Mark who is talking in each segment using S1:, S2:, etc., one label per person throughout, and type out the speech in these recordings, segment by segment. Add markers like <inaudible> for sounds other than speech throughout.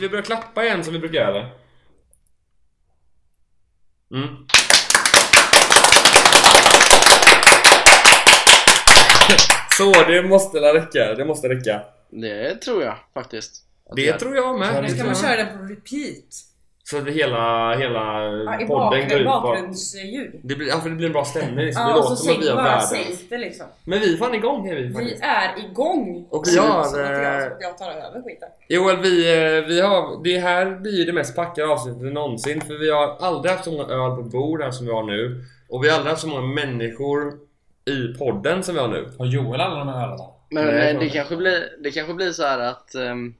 S1: vi börja klappa igen som vi brukar eller? Mm. Så, det måste la räcka. Det måste räcka.
S2: Det tror jag faktiskt. att
S1: Det
S2: jag-
S1: tror jag med.
S3: Nu
S1: Det
S3: ska
S1: tror
S3: man
S1: jag.
S3: köra den på repeat.
S1: Så att hela, hela
S3: Ja, I
S1: podden går
S3: bakgrund,
S1: ut bara-
S3: bakgrundsljud.
S1: det blir, ja, för det blir en bra stämning. Liksom.
S3: Ja,
S1: det
S3: och så
S1: låter som
S3: säg,
S1: att vi har
S3: bara
S1: världens...
S3: säg det liksom.
S1: Men vi är fan igång är vi
S3: Vi
S1: faktiskt.
S3: är igång!
S1: Och
S3: Så-
S1: vi har,
S3: så att jag,
S1: eh,
S3: så att jag tar över skiten.
S1: Joel, vi, eh, vi har, det här blir ju det mest packade avsnittet någonsin för vi har aldrig haft så många öl på bord här som vi har nu och vi har aldrig haft så många människor i podden som vi har nu.
S4: Har Joel alla de här ölarna?
S2: Men
S1: Nej,
S2: eh,
S1: jag
S2: det,
S1: tror-
S2: kanske blir, det kanske blir så här att ehm,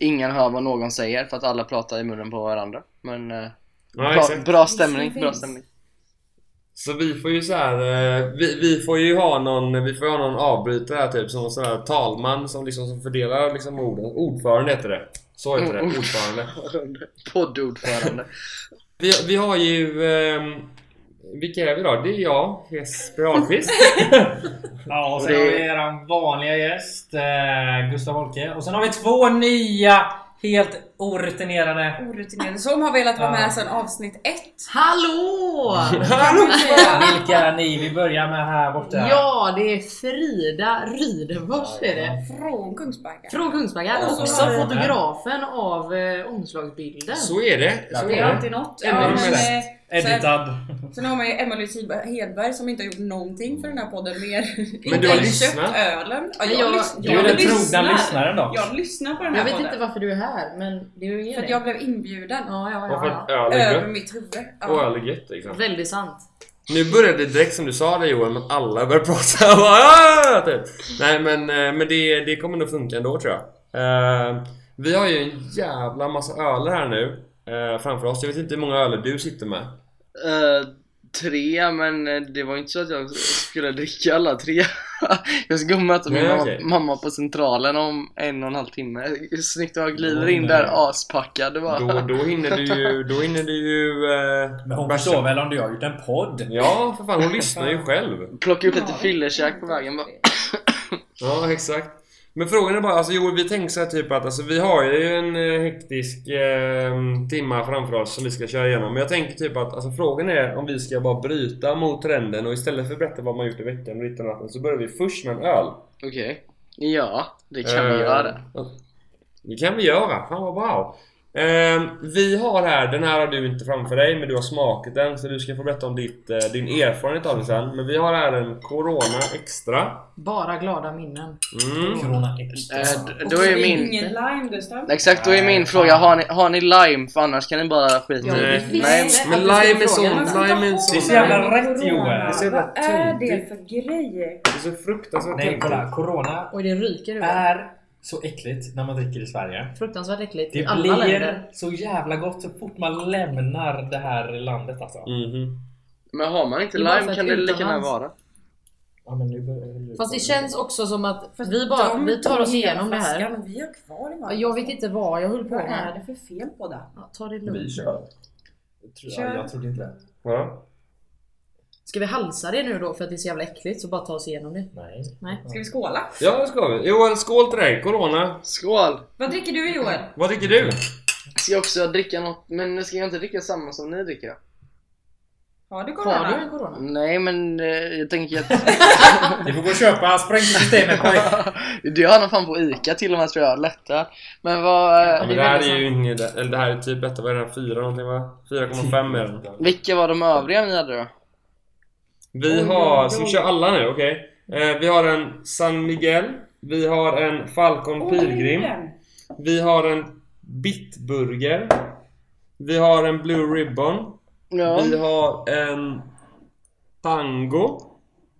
S2: ingen hör vad någon säger för att alla pratar i munnen på varandra. Men eh,
S1: Ja,
S2: bra,
S1: exakt.
S2: bra
S3: Visst,
S2: stämning,
S3: det
S2: bra
S3: finns.
S2: stämning. <laughs>
S1: Så vi får ju så här, eh, vi, vi får ju ha någon, vi får ju ha någon avbrytare här typ som någon sån här talman som liksom som fördelar liksom orden. Ordförande heter det. Så heter det,
S2: Mm.
S1: ordförande.
S2: Poddordförande.
S1: Vi, vi har ju... ehm, vilka är vi då? Det är jag, Jesper Ahlqvist.
S4: <laughs> Ja, och
S2: Och
S4: sen
S2: det-
S4: har vi eran vanliga gäst eh, Gustav Holke. Och sen har vi två nya helt orutinerade...
S3: eh, Orutinerade som har velat vara
S4: Ja.
S3: med sedan avsnitt ett.
S5: Hallå!
S4: <laughs> Vilka är ni? Vi börjar med här borta.
S5: Ja, det är Frida Rydenfors är det.
S3: Från Kungsbacka.
S5: Från Kungsbacka,
S3: Och så
S5: också
S3: har vi-
S5: fotografen av eh, omslagsbilden.
S1: Så är det. Så
S3: Det är
S1: är det.
S3: alltid något.
S1: Ännu
S3: Ja, men,
S1: bäst.
S3: eh,
S4: Editad.
S3: sen har man ju Emma-Louise Hedberg som inte har gjort någonting för den här podden mer.
S1: Men
S3: <laughs>
S1: du har lyssnat.
S3: köpt ölen. Ja, jag,
S5: jag-
S3: lys-
S4: Du är
S3: jag,
S4: den
S3: lyssnar.
S4: trogna lyssnaren dock.
S3: Jag lyssnar på den här
S5: Jag vet
S3: podden.
S5: inte varför du är här, men det är ju
S3: För
S5: ingen
S3: att jag blev inbjuden.
S5: Ja, ja,
S1: Och för
S5: ja,
S1: att
S5: ja.
S1: öl är
S3: Över
S1: gött.
S3: mitt huvud.
S1: Och öl är gött liksom.
S5: Väldigt sant.
S1: Nu började det direkt som du sa det Johan, men alla började prata <laughs> och bara, "Ah!" typ. Nej men, eh, men det, det kommer nog funka ändå tror jag. Eh, vi har ju en jävla massa öler här nu eh, framför oss. Jag vet inte hur många öler du sitter med.
S2: Eh, tre, men eh, det var inte så att jag skulle dricka alla tre. <laughs> Jag ska gå och möta min
S1: Nej,
S2: mamma,
S1: okej.
S2: mamma på centralen om en och en halv timme. Snyggt att jag glider
S4: Åh,
S2: in där
S4: nej.
S2: aspackad och bara.
S1: Då, då hinner du ju... Då hinner du ju eh,
S4: Men hon
S1: bärsa.
S4: förstår väl om du har gjort en podd?
S1: Ja, för fan hon lyssnar ju själv.
S2: Plocka upp lite fyllekäk på vägen bara.
S1: Ja, exakt. Men frågan är bara, alltså jo, vi tänker så här typ att alltså, vi har ju en eh, hektisk eh, timma framför oss som vi ska köra igenom. Men jag tänker typ att alltså, frågan är om vi ska bara bryta mot trenden och istället för att berätta vad man gjort i veckan och lite natten så börjar vi först med en öl.
S2: Okej. Ja, det kan vi
S1: Eh,
S2: göra.
S1: Det kan vi göra, fan vad bra. Eh, vi har här, den här har du inte framför dig men du har smakat den så du ska få berätta om ditt, eh, din erfarenhet av den sen. Men vi har här en Corona Extra.
S5: Bara glada minnen.
S1: Mm.
S4: Corona extra.
S5: Äh,
S2: Eh,
S4: så.
S2: d- då är min...
S3: Ingen lime Gustav.
S2: Exakt, då är
S4: Nej,
S2: min
S4: fan.
S2: fråga, har ni, har ni lime? För annars kan ni bara skita i
S1: Nej.
S2: det.
S5: visst.
S2: Nej,
S1: Men
S5: Att du skulle
S1: lime är
S5: fråga.
S1: sån,
S3: Man får inte
S1: lime är
S3: ha
S1: sån.
S4: Det är så jävla
S3: Corona.
S4: rätt, Joel. Det är
S1: så jävla
S3: Vad är det
S1: töntigt.
S3: för grej?
S1: Det är så fruktansvärt
S4: Nej,
S1: töntigt.
S5: Mm.
S4: kolla. Corona
S5: Och det ryker ur.
S4: är så äckligt när man dricker i Sverige.
S5: Fruktansvärt äckligt
S4: Det
S5: i alla länder.
S4: blir så jävla gott så fort man lämnar det här landet alltså.
S5: Mm.
S1: Mhm.
S2: men har man inte
S5: Det är bara för
S2: lime
S5: att
S2: kan det lika gärna
S5: utomlands-
S2: vara.
S4: Ja, men nu börjar- nu
S5: Fast det
S4: börjar-
S5: känns också som att vi, bara, vi tar oss igenom det här.
S3: Vi har kvar det
S5: Ja, Jag vet inte vad jag höll på
S3: Vad är
S5: med.
S3: det för fel på det?
S5: Ja, ta det
S1: Vi
S5: lugnt.
S1: kör.
S4: Jag tror- ja, Jag trodde inte det.
S1: Ja.
S5: Ska vi halsa det nu då för att det är så jävla äckligt så bara ta oss igenom det?
S4: Nej.
S5: Nej.
S3: Ska vi skåla?
S1: ja, det ska vi. Joel, skål till dig. Corona.
S2: Skål!
S3: Vad dricker du Joel?
S1: Vad tycker du?
S2: Ska jag också dricka något, men ska jag inte dricka samma som ni dricker?
S3: Har du corona?
S5: Har du en corona?
S2: Nej men eh, jag tänker
S5: <laughs>
S2: att
S4: Du får gå och köpa, spräng systemet på
S2: det har han fan på ICA till och med tror jag, lättare. Men vad,
S1: Ja,
S2: eh,
S1: men det här
S5: väldigt
S1: är ju inget, eller det här är typ detta, vad är det här? 4 någonting va? 4,5 är det.
S2: vilka var de övriga ni hade då?
S1: Vi har, ska vi köra alla nu? Okej. Eh, vi har en San Miguel. Vi har en Falcon
S3: Åh,
S1: Pilgrim.
S3: det är den.
S1: Vi har en Bitburger. Vi har en Blue Ribbon.
S2: Ja,
S1: Vi har en Tango.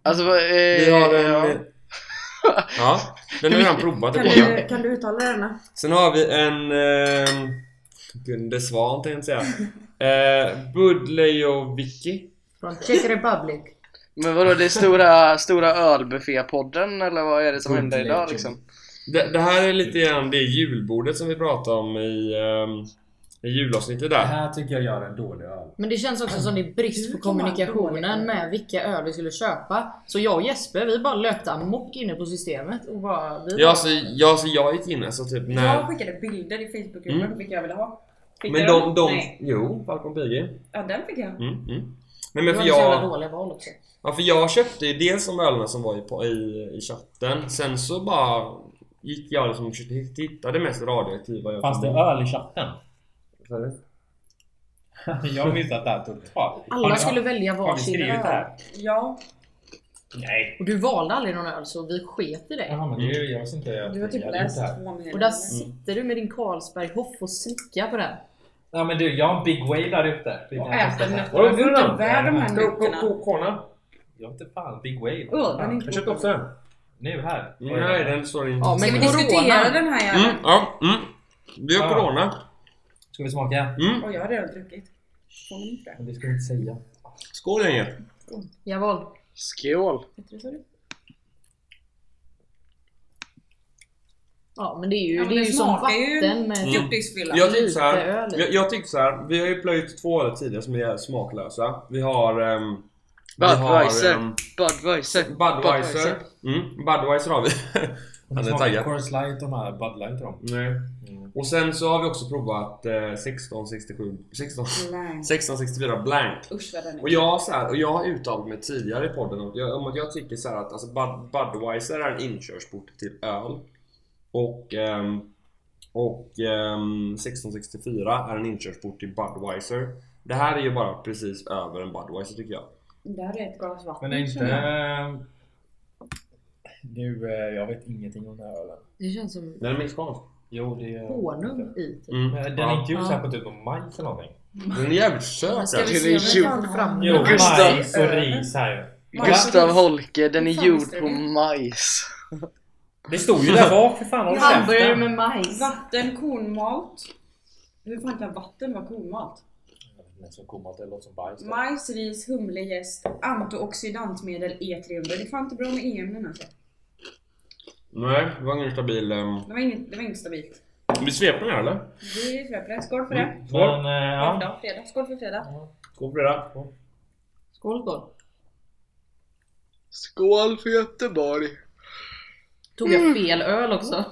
S2: alltså vad, eh,
S1: Vi har en...
S2: ja.
S1: <laughs> Ja, den har vi redan provat i
S3: Kan
S1: podden.
S3: du, kan du uttala denna?
S1: Sen har vi en... Eh, Gunde Svan tänkte jag säga. Eh, Budlejovicki.
S5: Från Czech Republic.
S2: Men vadå, det är stora, stora ölbuffépodden eller vad är det som händer idag liksom?
S1: Det, det här är lite grann det julbordet som vi pratade om i... ehm, I julavsnittet där.
S4: Här tycker jag gör en dålig öl.
S5: Men det känns också som det är brist på
S3: Hur kommer alkoholen?
S5: kommunikationen med vilka öl vi skulle köpa. Så jag och Jesper vi bara löpte amok inne på systemet och bara... Vi
S1: Ja, alltså, ja, alltså jag gick in alltså typ
S3: Jag
S1: när...
S3: skickade bilder i Facebookgruppen
S1: Mm.
S3: vilka jag ville ha. Fick
S1: Men
S3: du
S1: de,
S3: dem?
S1: de...
S3: Nej.
S1: Jo, Falcon Pigi.
S3: Ja, den fick jag.
S1: Mm, mm. Nej
S5: vi
S1: men för
S5: hade så jävla
S1: jag,
S5: dåliga val också.
S1: ja, för jag köpte ju dels de ölen som var i, på- i, i chatten. Sen så bara gick jag liksom och försökte hitta det mest radioaktiva jag
S6: Fanns det öl i chatten?
S1: Sorry.
S6: Jag har missat det här totalt. Har
S5: Alla
S6: ni-
S5: skulle välja
S6: har ni
S5: varsin
S6: skrivit det
S5: öl.
S6: här?
S3: Ja,
S6: Nej.
S5: Och du valde aldrig någon öl så vi sket i det.
S3: Mm.
S6: Jaha, men det är ju- jag visste inte. Jag
S3: du har typ
S6: jag
S3: läst
S6: det här.
S3: två meningar.
S5: Och där sitter du med din Carlsberg Hoff och slickar på den.
S4: Ja men du, jag har en big whale där ute. Det kan
S3: Och
S4: jag
S3: äter
S4: testa.
S3: nötterna.
S4: Vad är det
S3: Du är
S4: för
S3: inte
S4: namn?
S3: värd de här
S1: Coca-
S3: nötterna.
S1: Coca-Cola.
S6: Jag vet inte fan, Big Wave.
S3: Åh, den är inte
S6: jag köpte också den.
S4: Nu här.
S1: Nej den står inte.
S5: Ja, men
S3: Ska vi
S5: corona.
S3: diskutera den här jäveln?
S1: Mm, ja, mm. Det är
S4: Ja.
S1: corona.
S4: Ska vi smaka?
S1: Mm.
S3: Och jag har redan druckit. Får man inte det?
S4: Men Det ska vi inte säga.
S1: Skål gänget.
S5: Jawohl.
S2: Skål!
S3: Heter det så?
S5: Ja men det är ju,
S3: Ja, men
S5: det är
S3: det
S5: ju som
S3: smakar ju-
S5: vatten med...
S1: Mm.
S3: Fjortisfylla.
S1: Jag tycker
S5: Lite
S1: så här,
S5: öl i.
S1: jag, jag tycker så här, vi har ju plöjt två öl tidigare som är smaklösa. Vi har... ehm, vi har,
S2: Budweiser.
S1: ehm,
S2: Budweiser!
S1: Budweiser. Mm, Budweiser har vi. <laughs> Han är taggad.
S6: Coors Light och de här Bud Light och de.
S1: Nej.
S6: Mm.
S1: Och sen så har vi också provat eh, 1667... 16,
S3: Nej.
S1: 1664 blank.
S3: Usch vad den är.
S1: Och jag, har så här, och jag har uttalat mig tidigare i podden om att jag, om att jag tycker så här att alltså Bud, Budweiser är en inkörsport till öl. Och, ehm, och ehm, 1664 är en inkörsport till Budweiser. Det här är ju bara precis över en Budweiser tycker jag.
S3: Det här är ett glas vatten.
S6: Men är inte...
S3: känner jag.
S6: eh, Nu, eh, jag vet ingenting om den här ölen.
S5: Det känns som
S1: Den är mexikansk.
S6: Jo, det är...
S5: honung i. typ.
S1: Mm.
S6: Men Den
S1: Ja.
S6: är inte gjord
S5: Ja.
S6: såhär på typ någon majs eller någonting.
S1: Den är jävligt söt.
S5: Ska
S1: den.
S5: vi
S2: Den
S5: se
S2: är
S5: om vi
S3: gjord.
S5: kan fram
S6: Jo,
S2: Gustav.
S6: majs och ris här ju.
S2: Gustav Holke, den är
S3: Hur fan
S2: gjord
S3: visste du
S2: på
S3: det?
S2: majs.
S6: Det stod ju där bak för fan, håll
S5: Hamburgare
S6: käften!
S5: med majs.
S3: Vatten, kornmalt. Hur fan kan vatten vara kornmalt?
S6: Den som komma det låter som bajs.
S3: Majs, ris, humlejäst, antioxidantmedel E300. Det är fan inte bra med E-ämnen alltså.
S1: Nej, det var ingen stabil... ehm,
S3: Det var inget, det var inget stabilt.
S1: Vi sveper den här eller?
S3: Vi släpper det. Skål för det.
S6: Men, eh, ja.
S3: Fredag, fredag. Skål för fredag.
S1: Skål på det.
S5: Skål skål.
S2: Skål för Göteborg!
S5: Tog jag fel öl också?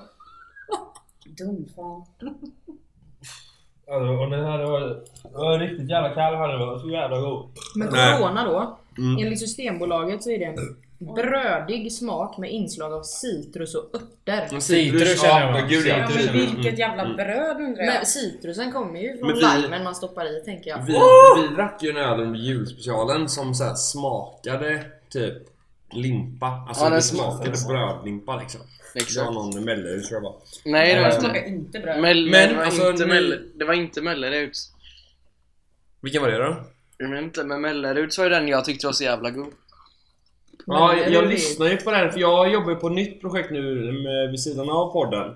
S3: Dum fan.
S6: Alltså, och den här var, var riktigt jävla kall här nu. var Så jävla god.
S5: Men
S1: Nej.
S5: Corona då,
S1: Mm.
S5: enligt Systembolaget så är det en brödig smak med inslag av citrus och örter.
S6: Citrus känner jag.
S1: ja, gud,
S3: Ja,
S1: ja.
S3: men
S6: Mm,
S3: vilket jävla bröd undrar jag.
S5: Men citrusen kommer ju från
S1: Men vi-
S5: limen man stoppar i tänker jag.
S1: Vi, vi drack ju en öl under julspecialen som så här smakade typ limpa. Alltså
S2: Ja, den
S1: det
S2: smakade
S1: smakade brödlimpa liksom. Det var
S2: Exakt.
S1: någon Mellerud tror jag var.
S2: Nej, det
S3: Det
S2: var
S3: smakar
S2: inte...
S3: inte bröd.
S2: Mell,
S1: Men,
S2: det, var
S1: alltså,
S2: inte
S1: ni-
S2: Mell, det var inte Mellerud.
S1: Vilken var det då?
S2: Jag vet inte, men Melleruds var ju den jag tyckte var så jävla god.
S1: Ja,
S5: Men-
S1: jag, jag lyssnar ju på den för jag jobbar ju på ett nytt projekt nu med, vid sidan av podden.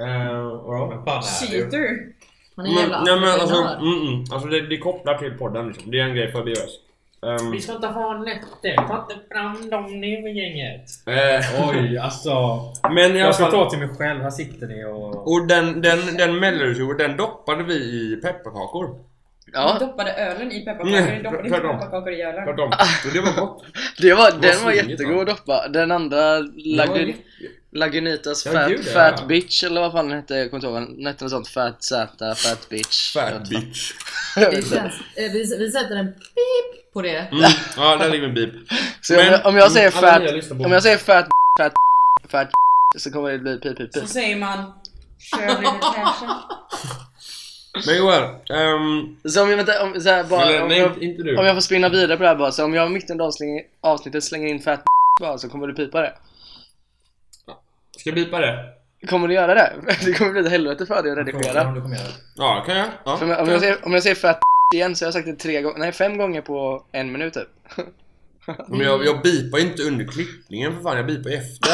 S1: Eh, och då?
S6: Men fan är det ju.
S3: Cheater.
S5: Han är
S1: Men,
S5: en jävla
S1: nej, men alltså,
S5: entreprenör.
S1: mm, mm, alltså det, det kopplar till podden liksom. Det är en grej förbi oss. Ehm,
S4: Vi ska inte ha nötter. Ta inte fram dem nu gänget.
S1: eh,
S6: Oj, alltså.
S1: men i alla
S4: Jag ska
S1: fall.
S4: ta till mig själv. Här sitter ni och...
S1: Och den, den, den Mellerudsjorden den doppade vi i pepparkakor.
S3: Ja.
S2: Ja,
S3: doppade ölen i pepparkakor.
S1: Nej,
S3: Du doppade inte
S1: tvärtom.
S3: pepparkakor i ölen.
S1: Tvärtom.
S4: Ah.
S1: Och det var gott.
S2: det var,
S1: Det var
S2: den var
S1: svingigt,
S2: jättegod
S1: va?
S2: att doppa. Den andra,
S1: Det var
S2: Lagun,
S1: jätte-
S2: Lagunitas
S1: Ja,
S2: fat,
S1: gud, ja.
S2: fat Bitch eller vad fan den hette, jag kommer inte ihåg. Den hette något sånt, Fat Z, Fat Bitch.
S1: Fat bitch.
S2: Jag
S5: Det
S2: vet inte.
S5: känns, eh, vi, vi sätter en pip på det.
S1: <laughs> Mm. Ja, där ligger min bip.
S2: Så om jag- om jag säger
S1: Mm, alla
S2: fat-
S1: ni har lyssnat på-
S2: Om jag säger Fat Fat Fat så kommer det bli pip pip pip.
S3: Så säger man Kör lite fräscha.
S1: Men Joel, ehm,
S2: Så om jag, vänta, om, så här, bara,
S1: eller,
S2: om,
S1: nej
S2: jag,
S1: inte- inte du.
S2: om jag får spinna vidare på det här bara, så om jag mitt under avsnitt- avsnittet slänger in Fat bara, så kommer du pipa det.
S1: Ska jag bipa det?
S2: Kommer du göra det? <laughs> Det kommer bli ett helvete för dig att
S6: Frågan
S2: redigera.
S6: om du kommer göra det.
S1: Ja, kan jag? Ja.
S2: För om, jag- om, jag säger, om jag säger Fat igen så har jag sagt det tre gånger, nej fem gånger på en minut typ.
S1: Men jag, jag bipar ju inte under klippningen för fan, jag bipar ju efter.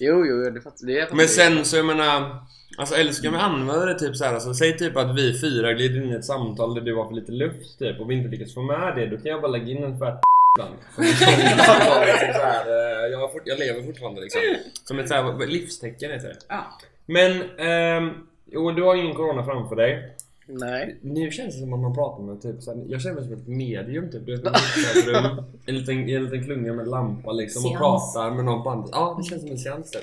S2: Jo, jo, jo, det fattar det fattar
S1: Men
S2: jag.
S1: sen så jag menar, alltså eller ska man använda det typ så här, alltså, säg typ att vi fyra glider in i ett samtal där du har för lite luft typ och vi inte lyckas få med det, då kan jag bara lägga in en fat ibland. Som ett samtal, liksom, så här, eh, jag, har fort, jag lever fortfarande liksom. Som ett så här, livstecken heter det.
S3: Ja.
S1: Men, ehm, jo, du har ingen corona framför dig.
S2: Nej.
S1: Nu känns det som att man pratar med typ såhär, Jag känner mig som ett medium typ. Du vet, man sitter i ett rum, en liten, i en liten klunga med en lampa liksom och
S5: Seans.
S1: pratar med någon på andra. Ja, det känns som en seans typ.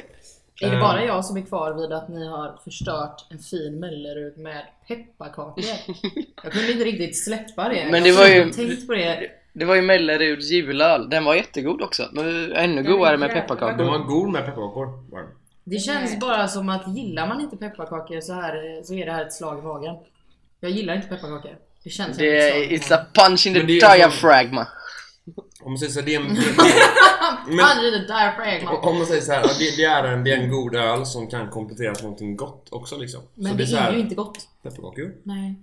S5: Är det
S1: Eh.
S5: bara jag som är kvar vid att ni har förstört en fin Mellerud med <laughs> pepparkakor? Jag kunde inte riktigt släppa det.
S2: Men det
S5: Jag
S2: var
S5: har
S2: ju-
S5: inte tänkt på det.
S2: Det var ju Melleruds julöl. Den var jättegod också. Men ännu
S3: Den är
S2: godare med
S3: jävla
S1: De
S2: pepparkakor.
S3: god.
S5: Mm.
S1: var god med pepparkakor. var de.
S5: Det känns
S3: Nej.
S5: bara som att gillar man inte pepparkakor så, här, eh, så är det här ett slag i magen. Jag gillar inte pepparkakor. Det känns som
S2: Det
S5: ett slag
S2: är,
S5: i
S2: it's a
S5: magen.
S2: punch in the
S1: Men det är- alltså-
S2: diaphragma.
S1: Om man säger såhär, det
S5: <laughs>
S1: är en... Men-
S5: Fan, det är det där fragman.
S1: Om man säger såhär, ja, det, det, är en, det är en god öl som kan kompletteras med någonting gott också liksom.
S5: Men
S1: så
S5: det
S1: det, är, så här,
S5: är ju inte gott.
S1: pepparkakor.
S5: Nej.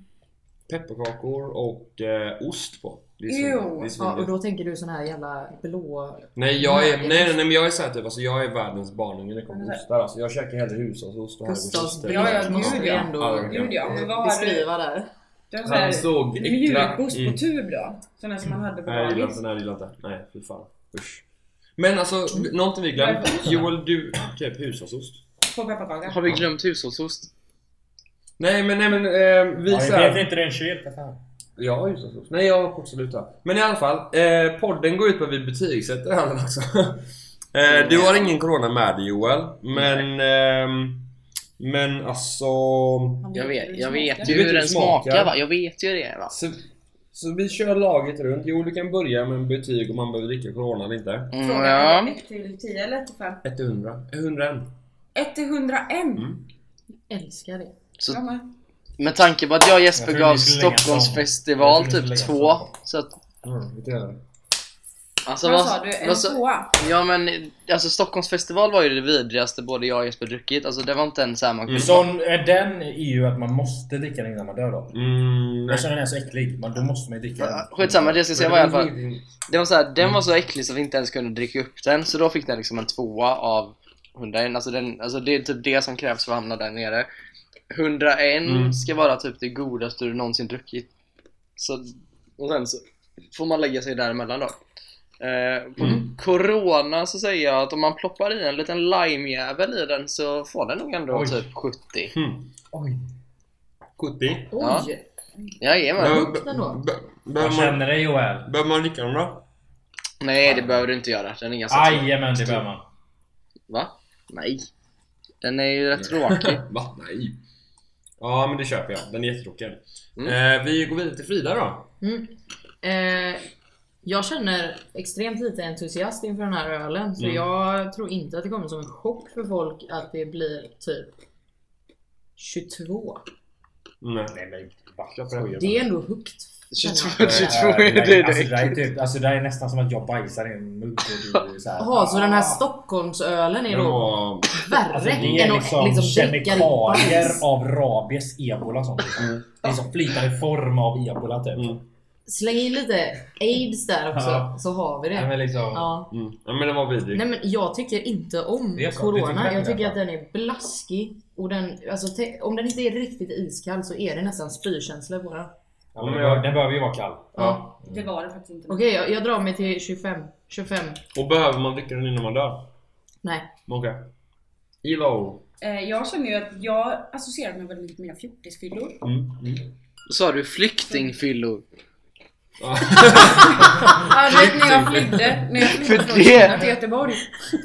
S1: Pepparkakor och eh, ost på. Det är svin-
S3: Ew.
S1: det är
S5: Ja, och
S1: svingott.
S5: då tänker du sån här jävla blå...
S1: Nej jag är,
S5: Nej.
S1: nej, nej, men jag är såhär typ, alltså, jag är världens barnunge när det kommer till ostar alltså, Jag käkar hellre hushållsost och
S5: Gustavs
S1: herrgårdsost.
S5: bild
S3: Ja, ja,
S5: måste
S3: gud,
S5: vi
S3: ja.
S5: ändå
S1: Ja, verkligen.
S3: Gud ja, men
S5: eh,
S3: vad har du?
S5: beskriva där.
S3: Det var
S1: Han
S3: såhär
S1: såg äckla
S3: mjukgost
S1: Mm.
S3: på tub då. Sån där som man hade på
S1: Nej jag gillar
S3: dagis.
S1: inte, nej jag gillar inte. Nej fy fan. Usch. Men alltså, någonting vi glömt. Joel, du typ hushållsost.
S3: På pepparkaka.
S2: Har vi glömt hushållsost?
S1: Nej men, nej men, eh, vi
S6: Ja,
S1: så
S6: det
S1: här-
S6: vet inte det är en kyl för fan.
S1: Ja, just det. Nej, jag har också luta. Men i alla fall, eh, podden går ut på att vi betygsätter ölen också. <laughs> eh, du har ingen corona med dig Joel, men... ehm, men alltså...
S2: Jag vet, jag vet
S1: Du vet
S2: ju hur
S1: hur
S2: den
S1: typ smakar.
S2: smakar va? Jag vet ju det va?
S1: Så, så vi kör laget runt. Joel, du kan börja med en betyg om man behöver dricka corona eller inte.
S2: Mm,
S3: Frågan
S2: ja.
S3: är 1 till 10 eller 1 till 5?
S1: 1 till 100. 101.
S3: 1 till 101!
S5: Älskar det.
S3: Ja,
S2: Så
S3: men.
S2: med tanke på att jag och
S6: Jag
S2: Jesper
S6: tror
S2: gav
S6: ni skulle lägga
S2: Stockholmsfestival
S6: samma. Jag tror ni
S2: typ
S6: skulle
S2: två.
S6: lägga samma.
S2: Så att,
S1: Mm, vet jag.
S2: alltså
S3: Vad sa du? En
S2: vad sa-
S3: tvåa?
S2: Ja men alltså Stockholmsfestival var ju det vidrigaste både jag och Jesper druckit. Alltså det var inte en såhär man kunde...
S6: Sån, eh, den är ju att man måste dricka den innan man dör då.
S1: Mm,
S6: Jag känner den är så äcklig, men då måste man ju dricka den.
S2: Skitsamma, det jag ska säga var i alla fall.
S1: ingenting-
S2: Det var så här,
S1: Mm.
S2: den var så äcklig så vi inte ens kunde dricka upp den så då fick den liksom en tvåa av 101 alltså, den, alltså det är typ det som krävs för att hamna där nere 101
S1: Mm.
S2: ska vara typ det godaste du någonsin druckit så, och sen så får man lägga sig däremellan då eh, på
S1: Mm.
S2: Corona så säger jag att om man ploppar i en liten limejävel i den så får den nog ändå
S6: Oj.
S2: typ 70
S1: Hmm.
S6: Oj.
S1: 70.
S2: Ja.
S5: Oj!
S2: Jajamän!
S1: Behöver-
S5: högt ändå.
S1: be-
S6: Jag
S1: Behöver man-
S6: känner dig Joel.
S1: behöver man dricka dem då?
S2: Nej det behöver du inte göra, den är ganska tråkig
S6: Jajamän, det behöver man.
S2: Va? Nej! Den är ju rätt tråkig
S1: Va? Nej. Ja, men det köper jag. Den är jättetråkig. Eh, vi går vidare till Frida då.
S5: Mm. Eh, jag känner extremt lite entusiast inför den här ölen så
S1: Mm.
S5: jag tror inte att det kommer som en chock för folk att det blir typ 22.
S1: Nej.
S6: Nej men va?
S1: Köper
S6: Skojar du?
S5: Det är ändå högt.
S2: 22,
S5: känner jag.
S2: 22
S6: Nej,
S2: är det
S6: alltså, det,
S2: direkt.
S6: är typ, alltså det är nästan som att jag bajsar i en mugg och du så här.
S5: Jaha, så den här Stockholmsölen är
S1: Den
S5: då
S1: var...
S5: värre
S6: Alltså det
S5: än
S6: är
S5: att
S6: liksom,
S5: liksom dricka
S6: kemikalier
S5: bajs?
S6: av rabies, ebola och sånt. liksom.
S1: Mm.
S6: Det är som flytande form av ebola typ.
S1: Mm.
S5: Släng in lite aids där också
S6: Ja.
S5: så har vi
S6: Nej,
S5: det.
S6: men liksom,
S5: Ja.
S1: Mm. Ja, men den var vidrig.
S5: Nej men jag tycker inte om
S6: Det är sant, du tycker
S5: corona.
S6: den
S5: Jag
S6: är
S5: tycker
S6: bra.
S5: att den är blaskig. Och den, alltså, te- om den inte är riktigt iskall så är det nästan spykänsla på den.
S6: ja, men den behöver- den behöver ju vara kall.
S5: Ja.
S3: Det var det faktiskt inte.
S5: Okej, jag, jag drar mig till 25. 25.
S1: Och behöver man dricka den innan man dör?
S5: Nej.
S1: Okej. Ilo.
S3: Eh, Jag känner ju att jag associerar mig väldigt med mina fjortisfyllor.
S1: Mm. Mm.
S2: Sa du flyktingfyllor?
S1: Ja.
S3: Ja, du vet när jag flydde, när jag flydde
S2: För
S3: från
S2: det-
S3: Kina till Göteborg.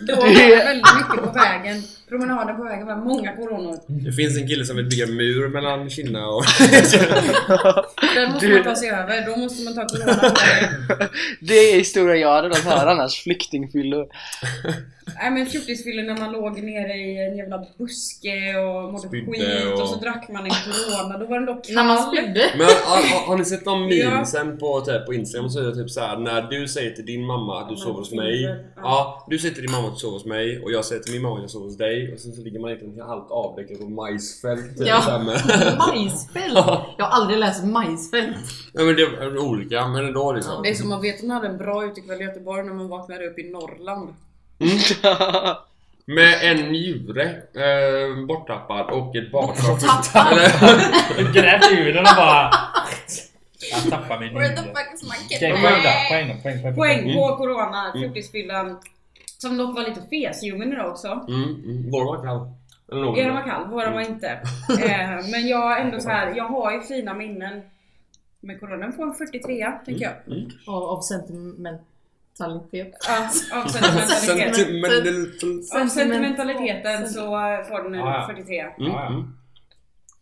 S3: Då var
S2: Det-
S3: det väldigt mycket på vägen. Promenaden på vägen var många coronor.
S1: Det finns en kille som vill bygga en mur mellan Kina och...
S3: Den måste
S2: Du-
S3: man ta sig över, då måste man ta corona på vägen.
S2: Det är historia jag hade velat höra
S1: <laughs>
S2: annars, flyktingfyllor.
S3: Nej men fjortisfyllor när man låg nere i en jävla buske och mådde
S1: Spydde
S3: skit och...
S1: och
S3: så drack man en corona. Då var den dock
S5: När man
S3: kall.
S5: spydde.
S1: Men har, har, har ni sett de
S3: Ja.
S1: memesen på, typ, på Instagram så är det typ så här när du säger till din mamma att du
S3: Ja,
S1: sover hos
S3: men
S1: mig.
S3: Tinder, ja.
S1: Ja, du säger till din mamma att du sover hos mig och jag säger till min mamma att jag sover hos dig och sen så ligger man egentligen halvt avdäckad på majsfält. Typ,
S5: Ja.
S1: så här med-
S5: Majsfält! Jag har aldrig läst majsfält.
S1: Ja men det är olika, men ändå liksom.
S3: Det är som man vet att man hade en bra utekväll i Göteborg när man vaknade upp i Norrland.
S1: Mm. Med en njure eh, borttappad och ett barnskap.
S5: Tappad.
S1: Eller-
S6: Du grät ur den och bara... Jag tappar min
S3: Where the
S6: nyckel.
S3: fuck is my
S6: Okej,
S3: kid?
S6: poäng då,
S3: Nej.
S6: poäng då, poäng, poäng,
S3: Poäng
S1: Mm.
S3: på corona,
S1: Mm.
S3: fjortisfyllan. Som dock var lite fesljummen idag också.
S1: mm, mm, vår var kall. Eller någon.
S3: Eran var kall, våran var inte. Eh, men jag är ändå så här, jag har ju fina minnen med coronan på en 43 tänker jag.
S5: Av, av sentimentalitet.
S3: Ja, av sentimentaliteten.
S1: Sentimental...
S3: Av sentimentaliteten så får den
S4: Ja, ja.
S3: en 43.
S1: Mm.
S4: Ja, ja.
S1: Mm.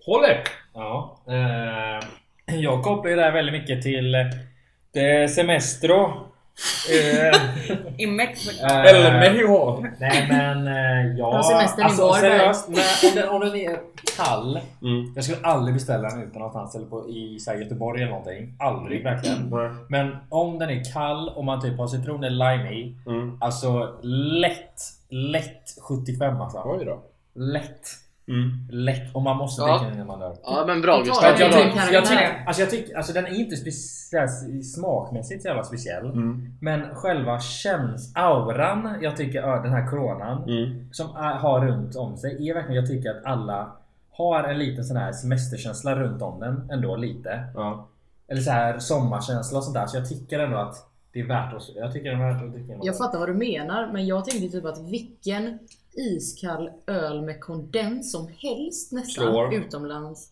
S4: Håller! Ja. Eh, jag kopplar ju det här väldigt mycket till eh, det semestro. Eh,
S3: I Mexiko.
S4: eh,
S1: <laughs> Eller med hår.
S4: Nej men eh, ja...
S5: Ta semestern i
S4: alltså,
S5: Varberg.
S4: seriöst, när- om, den, om den är kall.
S1: Mm.
S4: Jag skulle aldrig beställa den ute någonstans eller på, i så här, Göteborg eller någonting. Aldrig verkligen.
S1: Nej.
S4: Men om den är kall och man typ har citron eller lime i.
S1: Mm.
S4: Alltså lätt, lätt 75 alltså.
S1: Oj då.
S4: Lätt,
S1: Mm.
S4: lätt. Och man måste
S2: Ja.
S4: dricka den innan man dör.
S2: Ja men bra
S5: Vi tar
S2: Gustav.
S4: För att jag
S5: det.
S2: Bra.
S4: tycker, jag
S5: Karamell.
S4: tycker, alltså jag tycker, alltså den är inte speciell, smakmässigt så jävla speciell.
S1: Mm.
S4: Men själva känns auran jag tycker ö, den här coronan
S1: Mm.
S4: som är, har runt om sig är verkligen, jag tycker att alla har en liten sån här semesterkänsla runt om den ändå lite.
S1: Ja.
S4: Eller så här sommarkänsla och sånt där. Så jag tycker ändå att det är värt att, jag tycker det är värt att dricka en
S5: Jag fattar vad du menar, men jag tänkte typ att vilken iskall öl med kondens som helst nästan
S1: Slår.
S5: utomlands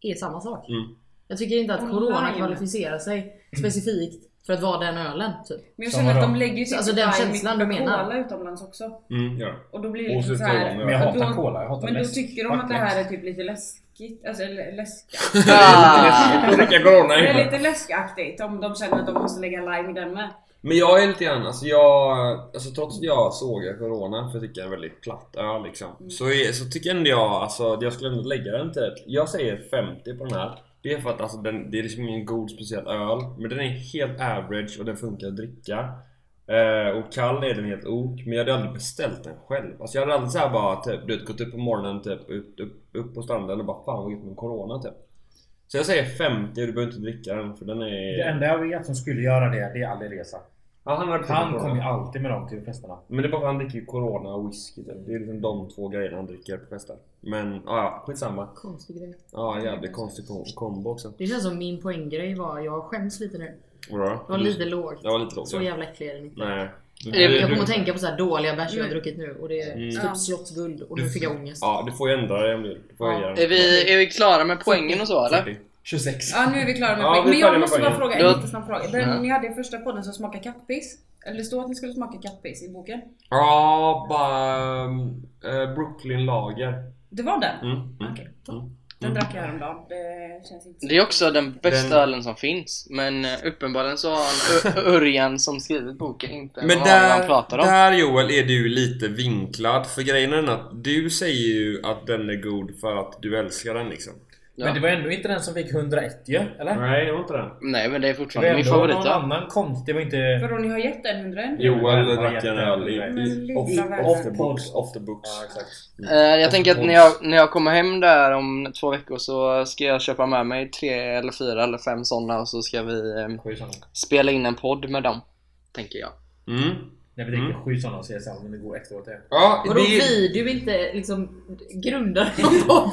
S5: är samma sak.
S1: Mm.
S5: Jag tycker inte att
S3: Och
S5: corona
S3: lime.
S5: kvalificerar sig specifikt för att vara den ölen. Typ.
S3: Men jag
S4: Som
S3: känner att
S4: vadå?
S3: de lägger ju sitt
S5: Alltså, den känslan du menar.
S3: Cola utomlands också.
S1: Mm. Ja.
S3: Och då blir det liksom
S1: Och
S3: så
S1: citron, ja.
S3: här.
S4: Men jag
S3: och
S4: hatar
S3: då-
S4: cola, jag hatar
S3: Men då
S4: läsk.
S3: tycker de att det
S4: Fuck
S3: här är
S4: läsk.
S3: typ lite läskigt. Alltså lä- läsk.
S2: Ah.
S1: Dricka corona
S3: Det är
S1: innan.
S3: lite läskaktigt om de känner att de måste lägga lime i den med.
S1: Men jag är lite grann, alltså jag, alltså trots att jag såg Corona för att tycka en väldigt platt öl liksom så, är, så tycker ändå jag, alltså jag skulle ändå lägga den typ, jag säger 50 på den här Det är för att alltså den, det är liksom ingen god speciell öl men den är helt average och den funkar att dricka Eh, och kall är den helt ok, men jag hade aldrig beställt den själv. Alltså jag hade aldrig såhär bara typ, du vet, gått upp på morgonen typ, upp, upp, upp på stranden och bara fan vad gött med corona typ. Så jag säger 50 och du behöver inte dricka den för den är...
S4: Det enda jag vet som skulle göra det, det är Ali Reza.
S1: Ja, han, hade
S4: Han
S1: corona.
S4: kommer ju alltid med dem till festerna.
S1: Men det är bara för att han dricker ju corona och whisky typ. Det är liksom de två grejerna han dricker på fester. Men ah, ja, skitsamma.
S5: Konstig grej.
S1: Ja,
S5: Mm.
S1: jävligt konstig kom- kombo också.
S5: Det känns som min poänggrej var, jag skäms lite nu.
S1: Bra.
S5: Jag var lite lågt.
S1: Jag var lite låg.
S5: Så jävla äcklig är den inte.
S1: Nej.
S5: Jag
S1: Du-
S5: kommer att tänka på så här dåliga bärs jag
S3: Mm.
S5: har druckit nu och det är
S1: Mm.
S5: typ
S3: Ja.
S5: slottsguld och nu fick jag ångest.
S1: Ja, du får ju ändra dig om du vill. Du får
S5: Ja.
S1: höja den. Typ.
S2: Är vi, är vi klara med poängen och så eller?
S1: 40.
S4: 26.
S3: Ja nu är vi klara med
S1: Ja,
S3: poäng.
S1: vi
S3: Men
S1: är klara
S3: jag
S1: med
S3: måste bara
S1: poängen.
S3: fråga
S2: Du har-
S3: en liten snabb fråga. Den,
S2: Ja.
S3: Ni hade i första podden som smakade kattpiss. Eller det stod att ni skulle smaka kattpiss i boken.
S1: Ja, bara... ehm, eh, Brooklyn lager.
S3: Det var den?
S1: Mm. mm.
S3: Okej.
S1: Mm.
S3: Den drack jag häromdagen. Det känns inte så-
S2: Det är också den bästa
S1: Den-
S2: ölen som finns. Men eh, uppenbarligen så har han
S1: <laughs>
S2: Ö- Örjan som skrivit boken inte
S1: Men
S2: vad han
S1: där,
S2: pratar om.
S1: där Joel är du lite vinklad. För grejen är den att du säger ju att den är god för att du älskar den liksom.
S2: Ja.
S4: Men det var ändå inte den som fick 101 ju, eller?
S1: Nej, det var inte den.
S2: Nej men det är
S4: Det var
S2: fortfarande min
S4: ändå
S2: favorit
S4: någon annan konstig, det var inte...
S3: Vadå ni har gett den 100?
S1: Joel
S4: Ja,
S1: drack en
S4: jätte-
S1: öl i,
S4: Men
S1: i
S3: lilla
S1: off,
S3: världen.
S1: off the books. Off the books.
S4: Ja, exakt.
S2: Eh, jag tänker att när jag, när jag kommer hem där om två veckor så ska jag köpa med mig tre eller fyra eller fem sådana och så ska vi eh,
S4: Sju sådana.
S2: spela in en podd med dem. Tänker jag.
S1: Mm.
S4: När vi dricker sju sådana och ser sen om det går efteråt. det.
S1: Ja,
S5: Vadå
S1: det,
S5: vi? Du är inte liksom grundare
S1: <laughs>
S5: av
S2: Mm.
S5: podden?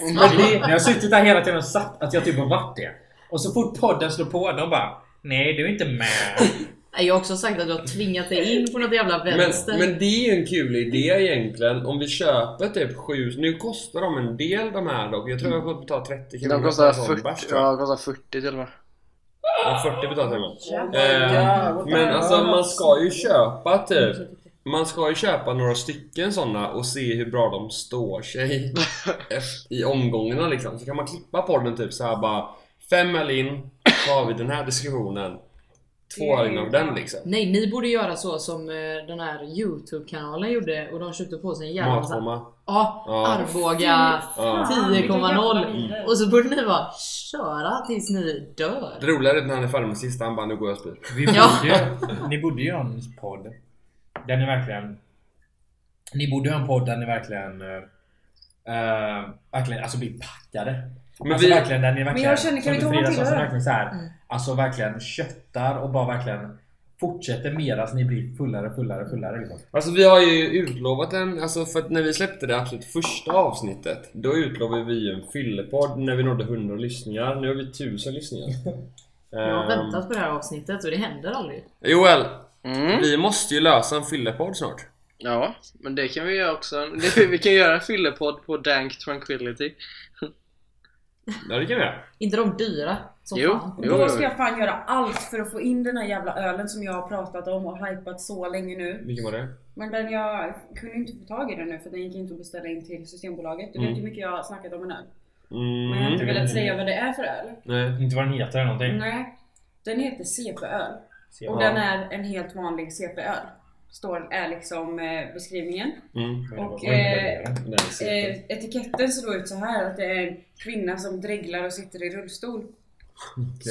S4: Men det- när jag har suttit där hela tiden och satt att jag typ har varit det. Och så fort podden slår på, de bara Nej, du är inte med.
S5: Nej, Jag har också sagt att du har tvingat dig in på något jävla
S1: men,
S5: vänster.
S1: men det är ju en kul idé egentligen. Om vi köper typ sju... Nu kostar de en del de här dock. Jag tror jag får betala 30 kronor.
S2: De kostar
S1: för en sån
S2: 40,
S1: bärs, tror jag.
S2: ja, de kostar 40 till och med.
S1: Ja, 40 betalar jag.
S3: Oh
S1: Eh, Men alltså man ska ju köpa typ... Man ska ju köpa några stycken sådana och se hur bra de står sig efter- i omgångarna liksom. Så kan man klippa podden typ så här bara Fem öl in, så har vi den här diskussionen. Två öl in av den liksom.
S5: Nej, ni borde göra så som eh, den här Youtube-kanalen gjorde och de köpte på sig en jävla massa...
S1: Matformar.
S5: Ja,
S1: Ja.
S5: Arboga.
S1: Ja.
S3: Fan, vilken jävla
S5: 10,0.
S3: vinder.
S5: Och så borde ni bara köra tills ni
S1: Det
S5: dör.
S1: roliga är när han är färdig med sista, han bara nu går jag och spyr.
S2: <laughs>
S4: Vi
S5: Ja.
S4: borde, ni borde göra en podd. Den är verkligen... Ni borde göra en podd där ni verkligen... eh, eh, verkligen alltså blir packade.
S1: Men
S4: alltså
S1: vi-
S4: verkligen, där ni verkligen...
S3: jag känner, kan
S4: som
S3: vi ta
S4: en
S3: någon till
S4: fredagsdag som
S3: då?
S4: verkligen så här,
S5: Mm.
S4: Alltså verkligen köttar och bara verkligen fortsätter medan ni blir fullare, fullare, fullare liksom.
S1: Alltså vi har ju utlovat en, alltså för att när vi släppte det absolut första avsnittet Då utlovade vi ju en fyllepodd när vi nådde 100 lyssningar, nu har vi 1000
S3: <laughs>
S1: lyssningar
S5: Jag har
S1: Ehm,
S5: väntat på det här avsnitet och det händer aldrig.
S1: Joel,
S2: Mm.
S1: vi måste ju lösa en fyllepodd snart
S2: Ja, men det kan vi göra också. Det- Vi kan göra en fyllepodd på Dank Tranquility.
S4: Ja, det kan vi göra.
S5: Inte de dyra som
S2: Jo.
S5: fan.
S2: Jo,
S3: Då
S2: jo.
S3: ska jag fan göra allt för att få in den här jävla ölen som jag har pratat om och hypat så länge nu.
S1: Vilken var det?
S3: Men den jag kunde inte få tag i den nu för den gick inte att beställa in till Systembolaget. Du vet
S1: Mm.
S3: hur mycket jag har snackat om en öl. Men jag har
S1: Mm.
S3: inte velat säga vad det är för öl.
S1: Nej.
S4: Inte vad den heter eller någonting.
S3: Nej. Den heter CP-öl.
S4: Se
S3: Mm. Och
S4: vad-
S3: den är en helt vanlig CP-öl. Står, är liksom eh, beskrivningen.
S1: Mm.
S4: vad det var-
S3: och,
S4: vad innebär det?
S1: Nej,
S3: Eh,
S1: säkert.
S3: etiketten ser då ut så här att det är en kvinna som dreglar och sitter i rullstol.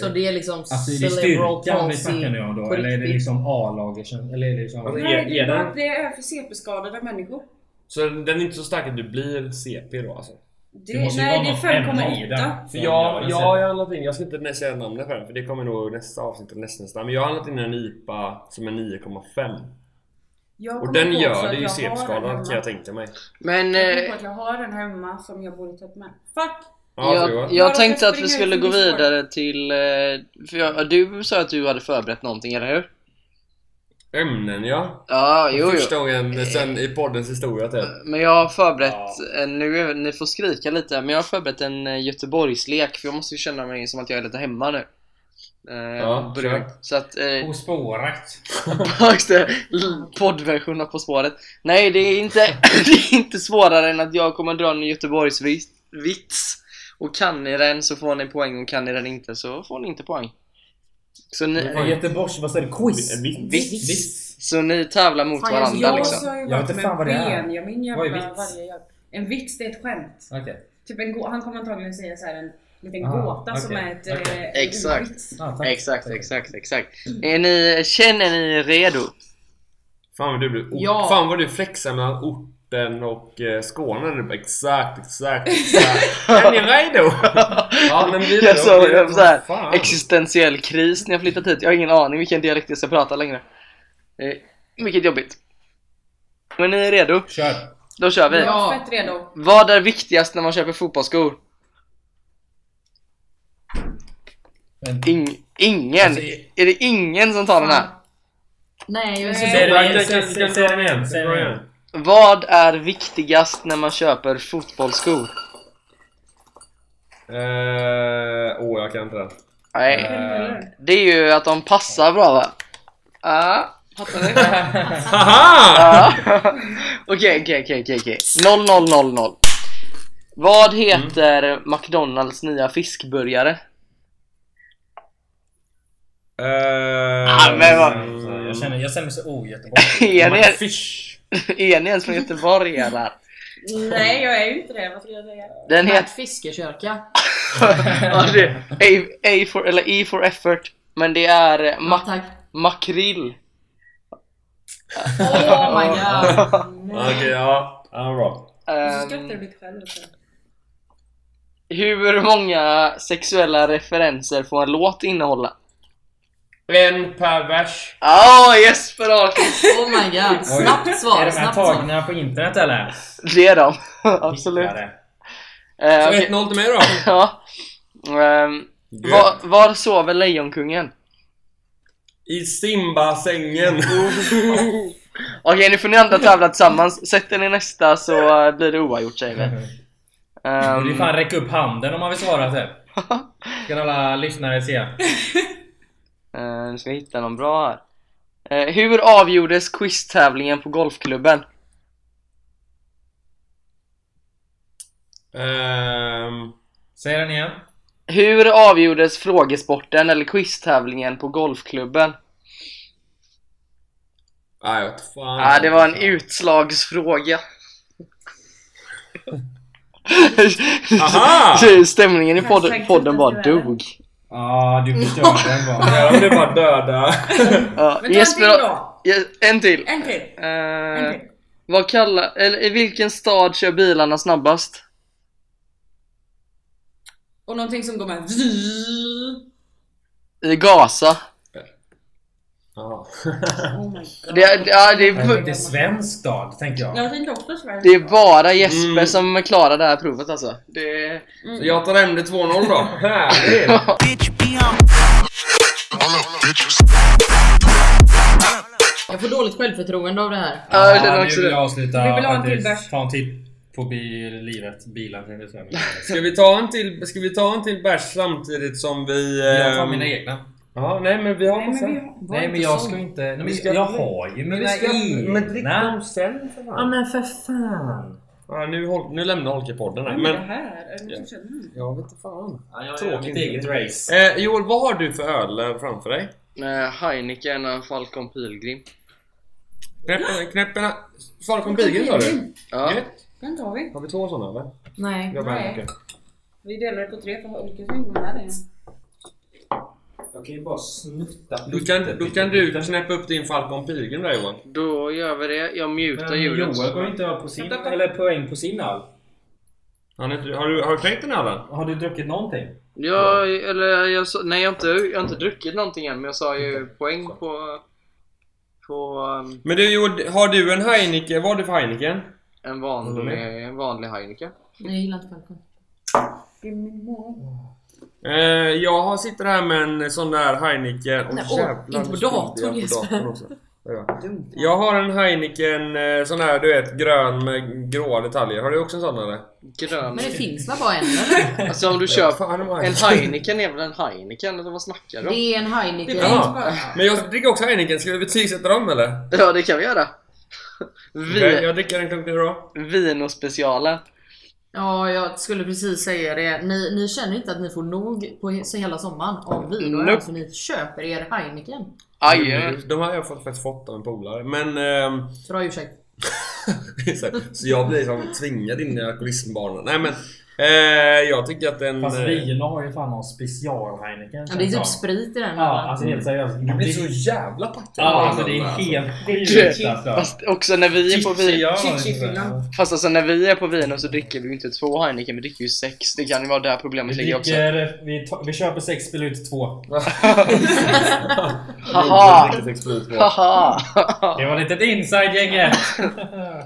S5: Så det är liksom
S4: Alltså är det
S5: cerebral
S4: styrkan vi
S5: palsy
S4: snackar nu om
S5: på
S4: då? Eller är det
S5: riktigt.
S4: liksom A-laget? Eller är det liksom...
S1: Alltså,
S3: Nej,
S1: är-
S3: det,
S1: är
S3: är bara,
S1: den-
S3: det är för CP-skadade människor.
S1: Så den är inte så stark att du blir CP då alltså?
S3: Det,
S4: Det måste ju
S3: nej,
S4: vara
S3: det
S4: något ämne i
S3: är
S4: den.
S3: 5,8.
S1: För
S4: Ja,
S1: jag,
S4: jag
S1: jag
S4: har
S1: har ju handlat in, jag ska inte säga namnet på den för det kommer nog nästa avsnitt eller nästnästa Men jag har handlat in en IPA som är 9,5
S3: Jag
S1: Och
S3: kommer
S1: den
S3: på också
S1: gör
S3: att
S1: det ju
S3: jag har den hemma.
S1: CP-skadad kan jag tänka mig
S2: Men
S3: Jag kommer på
S2: eh,
S3: att jag har den hemma som jag borde tagit med. Fuck!
S1: Ja,
S2: jag,
S1: ja.
S2: jag
S3: Jag
S2: tänkte att vi
S3: springa
S2: skulle
S3: ut
S2: gå
S3: i Discord.
S2: vidare till... eh, För jag, du sa att du hade förberett någonting, eller hur?
S1: Ämnen ja!
S2: Ja, jo, Eh. jo.
S1: Första gången sen i poddens historia typ
S2: Men jag har förberett, eh, nu, är- ni får skrika lite, men jag har förberett en eh, Göteborgslek för jag måste ju känna mig som att jag är lite hemma nu. Eh,
S1: Ja,
S2: bror.
S1: kör.
S2: så att, eh,
S4: På spåret.
S2: just det, l- poddversion av På spåret. Nej, det är inte, <laughs> det är inte svårare än att jag kommer dra en Göteborgsvits. Och kan ni den så får ni poäng och kan ni den inte så får ni inte poäng. Så ni,
S4: Göteborgs... Vad säger du?
S1: eh,
S4: Quiz?
S5: Vits.
S2: så ni tävlar mot
S5: Fan, jag är så
S2: varandra
S3: Jag
S2: liksom.
S3: sa ju
S4: Jag vet
S3: varit
S4: inte fan
S3: med
S4: vad det är.
S3: Benjamin
S4: Vad är
S3: jävla
S4: vits?
S3: varje jävla... En vits, det är ett skämt.
S4: Okej.
S3: Typ en, gå- han kommer antagligen säga så här en liten
S4: Ah,
S3: gåta som
S4: okej,
S3: är ett...
S4: okej.
S3: eh, en
S2: Exakt.
S3: vits.
S4: Ah, tack.
S2: Exakt,
S4: Tack.
S2: exakt, exakt.
S5: Mm.
S2: Är ni, känner ni er redo?
S1: Fan vad du blev ort.
S5: Ja.
S1: Fan vad du flexar mellan orten och eh, Skåne du bara, exakt, exakt,
S2: <laughs>
S1: exakt Är ni redo? ja men vi är
S2: Jag sa
S1: redo, vi är
S2: jag
S1: redo.
S2: så här,
S1: Fan.
S2: existentiell kris när jag flyttat hit. Jag har ingen aning vilken dialekt jag ska prata längre. Eh, mycket jobbigt. Men ni är redo?
S4: Kör.
S2: Då kör vi.
S5: Ja.
S3: Jag är fett redo.
S2: Vad är viktigast när man köper fotbollsskor?
S4: Men-
S2: Ing- ingen!
S4: Alltså, i-
S2: är det ingen som tar den här?
S5: Nej, jag är
S3: Nej.
S5: så
S1: Säg
S5: dålig.
S1: den
S4: Säg
S1: igen,
S4: den,
S1: säg
S4: säg
S1: den,
S4: den
S1: säg den igen, säg den igen
S2: Vad är viktigast när man köper fotbollsskor?
S1: Eh, Åh jag kan inte det
S2: Nej,
S4: Eh,
S2: det är ju att de passar bra va? Ja, fattar ni?
S4: <laughs>
S1: Haha!
S2: Ja. Okej, okej, okej, okej, okej. 0000. Vad heter
S4: Mm.
S2: McDonalds nya fiskburgare? <laughs>
S1: Eh,
S2: Ah, men vad-
S1: mm.
S4: Jag känner, jag känner mig så
S2: <laughs>
S4: ogöteborgsk.
S2: Är ni,
S1: Fish.
S2: är ni ens från Göteborg eller?
S3: Nej, jag är ju inte det. Vad skulle jag säga?
S2: Den
S4: <laughs>
S5: Matt
S2: heter...
S5: Fiskekörka.
S2: ja, det är A, A for, eller E for effort. Men det är eh,
S5: Ja,
S2: ma-
S5: tack.
S2: makrill.
S3: <laughs>
S5: Oh my god.
S1: Okej, ja. Ja, bra.
S3: Och så skrattar du
S2: Ehm,
S3: lite själv. alltså. också.
S2: hur många sexuella referenser får en låt innehålla?
S1: En per vers.
S2: Ah, yes! Bra! <laughs>
S5: Oh my god. Snabbt
S4: Är
S5: svar,
S4: de här
S5: snabbt svar.
S4: tagna på internet eller?
S2: Det är de. <laughs> Absolut.
S4: Hittare.
S2: Ehm,
S1: Så 1-0 till mig då.
S2: <laughs> ja. Ehm, Var, var sover Lejonkungen?
S1: I <laughs> Simba-sängen.
S2: Okej, nu får ni andra tävla tillsammans. Sätter ni nästa så eh, blir det oavgjort säger vi.
S4: Mm, Borde ju fan
S2: Ehm,
S4: räcka upp handen om man vill
S2: <laughs>
S4: svara typ. Kan alla lyssnare se.
S2: eh, nu ska jag hitta någon bra här. Eh, hur avgjordes quiztävlingen på golfklubben?
S1: Ehm,
S4: Säg den igen.
S2: Hur avgjordes frågesporten eller quiztävlingen på golfklubben?
S1: Nej, jag vet fan.
S2: Ah, det var en utslagsfråga.
S1: Aha!
S2: <laughs> Stämningen i podden, podden bara dog.
S4: Ja,
S2: <laughs>
S4: du förstörde den bara.
S1: Ja, men det är bara döda.
S2: Ja,
S3: Men ta en till
S2: Jesper,
S3: då!
S2: Yes, en till.
S3: En till!
S2: Eh,
S3: En till.
S2: Vad kallar, eller i vilken stad kör bilarna snabbast?
S3: Och någonting som går med
S2: I Gaza.
S1: Ja.
S3: Oh my god.
S2: Det, är- ja, det,
S4: Jag
S2: är,
S4: tänkte svensk stad, tänkte jag.
S3: Jag tänkte också Sverige.
S2: det är bara Jesper
S1: Mm.
S2: som klarar det här provet alltså. Det är...
S1: Så jag tar hem det 2-0 då. <laughs> Härligt!
S5: Jag Jag får dåligt självförtroende av det här.
S2: Ja, jag känner
S4: Ah, nu
S2: också
S4: vill jag
S2: det.
S4: avsluta
S3: Vi vill ha en till
S4: faktiskt.
S3: bärs.
S4: Ta en titt på bil, livet, bilen tänkte jag säga. men-
S1: Ska vi ta en till, ska vi ta en till bärs samtidigt som vi...
S4: Jag tar
S1: ehm,
S4: mina egna.
S1: Ja, nej men vi har
S3: Nej,
S1: på
S3: men vi
S1: sen.
S3: har...
S5: Var
S4: Nej
S5: inte
S4: men jag
S5: sån.
S4: ska inte... Nej, men
S1: Vi ska-
S4: jag har ju
S1: Men
S4: mina
S1: vi ska... Men drick
S4: egna.
S1: dem sen för
S4: Ja
S1: fan.
S4: men för fan.
S1: Ja, nu, håll, nu lämnar Holke-podden här.
S3: Men, det
S1: Men...
S3: här, är det som känner? Mm.
S1: Jag vet inte fan.
S4: Ja, jag
S1: Tråkigt.
S4: Tråkigt eget race.
S1: Eh, Joel, vad har du för öl framför dig?
S2: Eh, Heineken och Falcon Pilgrim.
S1: Knäpparna... Knäpparna... Falcon Beagle sa du?
S2: Ja.
S1: Gött.
S3: Den tar vi.
S1: Har vi två såna eller?
S5: Nej.
S1: Jag bara
S3: Nej.
S1: en mycket.
S3: Vi delar det på tre för Ulke ska inte vara med dig.
S4: Jag kan ju bara snutta.
S1: Då kan, då kan du knäppa upp din Falcon Beagle där Joel.
S2: Då gör vi det. Jag mutar
S4: Men
S2: ljudet.
S4: Eh, Joel går inte upp på sin... Eller poäng på sin öl.
S1: Har, ni, har, du, har du knäckt den här ölen?
S4: Har du druckit någonting?
S2: Jag, eller jag sa, nej jag har, inte, jag har inte druckit någonting än men jag sa ju poäng på... På um,
S1: Men du Joel, har du en Heineken? Vad har du för Heineken?
S2: en vanlig, en vanlig Heineken.
S5: Nej, jag gillar inte Falcon.
S3: Det är min mor.
S1: Eh, jag har- sitter här med en sån där Heineken... Åh,
S5: Nej, åh,
S1: jävlar,
S5: inte på
S1: nu stod
S5: datorn,
S1: jag på
S5: Jesper.
S1: datorn också. Där ja. Jag har en Heineken eh, sån här du vet grön med gråa detaljer. Har du också en sån eller?
S2: Grön.
S5: Men det finns väl bara en
S2: <laughs>
S5: eller?
S2: Alltså
S1: <laughs>
S2: om du köper...
S1: Fan, vad
S2: En
S1: nice.
S2: Heineken är väl en Heineken? Eller vad snackar du om?
S5: Det är en Heineken.
S1: <laughs> Ja. Men jag dricker också Heineken. Ska vi betygsätta dem eller?
S2: Ja det kan vi göra.
S1: Okej,
S2: Vi,
S1: jag dricker en klunk nu då.
S2: vin och specialen.
S5: Ja, jag skulle precis säga det. Ni, ni känner inte att ni får nog på he- så hela sommaren av vin och öl
S2: Nope.
S5: så alltså ni köper er Heineken.
S2: Aj,
S1: De har jag fått- faktiskt fått av en polare. Men... ehm,
S5: Bra ursäkt.
S1: <laughs> så, här, så jag blir liksom tvingad in i alkoholismbanan. Nej men. Eh, jag tycker att en...
S4: Fast
S1: eh,
S4: viner har ju fan någon special Heineken.
S5: Ja, det är
S4: Ja.
S5: typ sprit i den.
S4: Ja,
S5: ölen.
S4: alltså helt seriöst.
S1: Du blir så jävla packad.
S4: Ja, alltså det är helt sjukt alltså.
S2: Fast också när vi är på vin...
S3: Chichi-fyllan.
S2: Fast alltså när vi är på vinen så dricker vi ju inte två Heineken, vi dricker ju sex. Det kan ju vara där
S4: Vi,
S2: problemet ligger också.
S4: dricker, vi, tar- vi köper sex, spelar ut två.
S2: Haha!
S1: Riktigt explicit.
S2: Haha!
S4: Det var lite inside gänget! <laughs>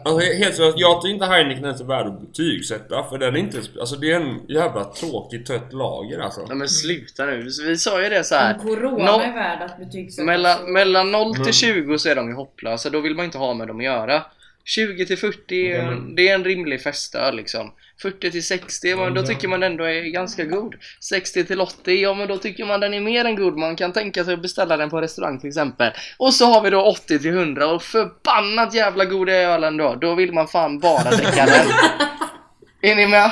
S1: Alltså helt seriöst, jag tycker inte Heineken ens är värd att betygsätta för den är inte... Alltså det är en jävla tråkig trött lager alltså.
S2: Nej men sluta nu, vi sa ju det så
S3: Om
S2: här.
S3: corona
S2: Nå-
S3: är värd att betygsätta.
S2: Alltså,
S5: Alltså-
S2: Mellan, mellan 0
S1: Mm.
S2: till 20 så är de ju hopplösa, då vill man inte ha med dem att göra. 20 till 40 är en, det är en rimlig festöl liksom. 40 till 60, men då tycker man ändå är ganska god. 60 till 80, ja men då tycker man den är mer än god. Man kan tänka sig att beställa den på restaurang till exempel. Och så har vi då 80 till 100 och förbannat jävla god är ölen då. Då vill man fan bara dricka
S5: <laughs>
S2: den. Är ni med?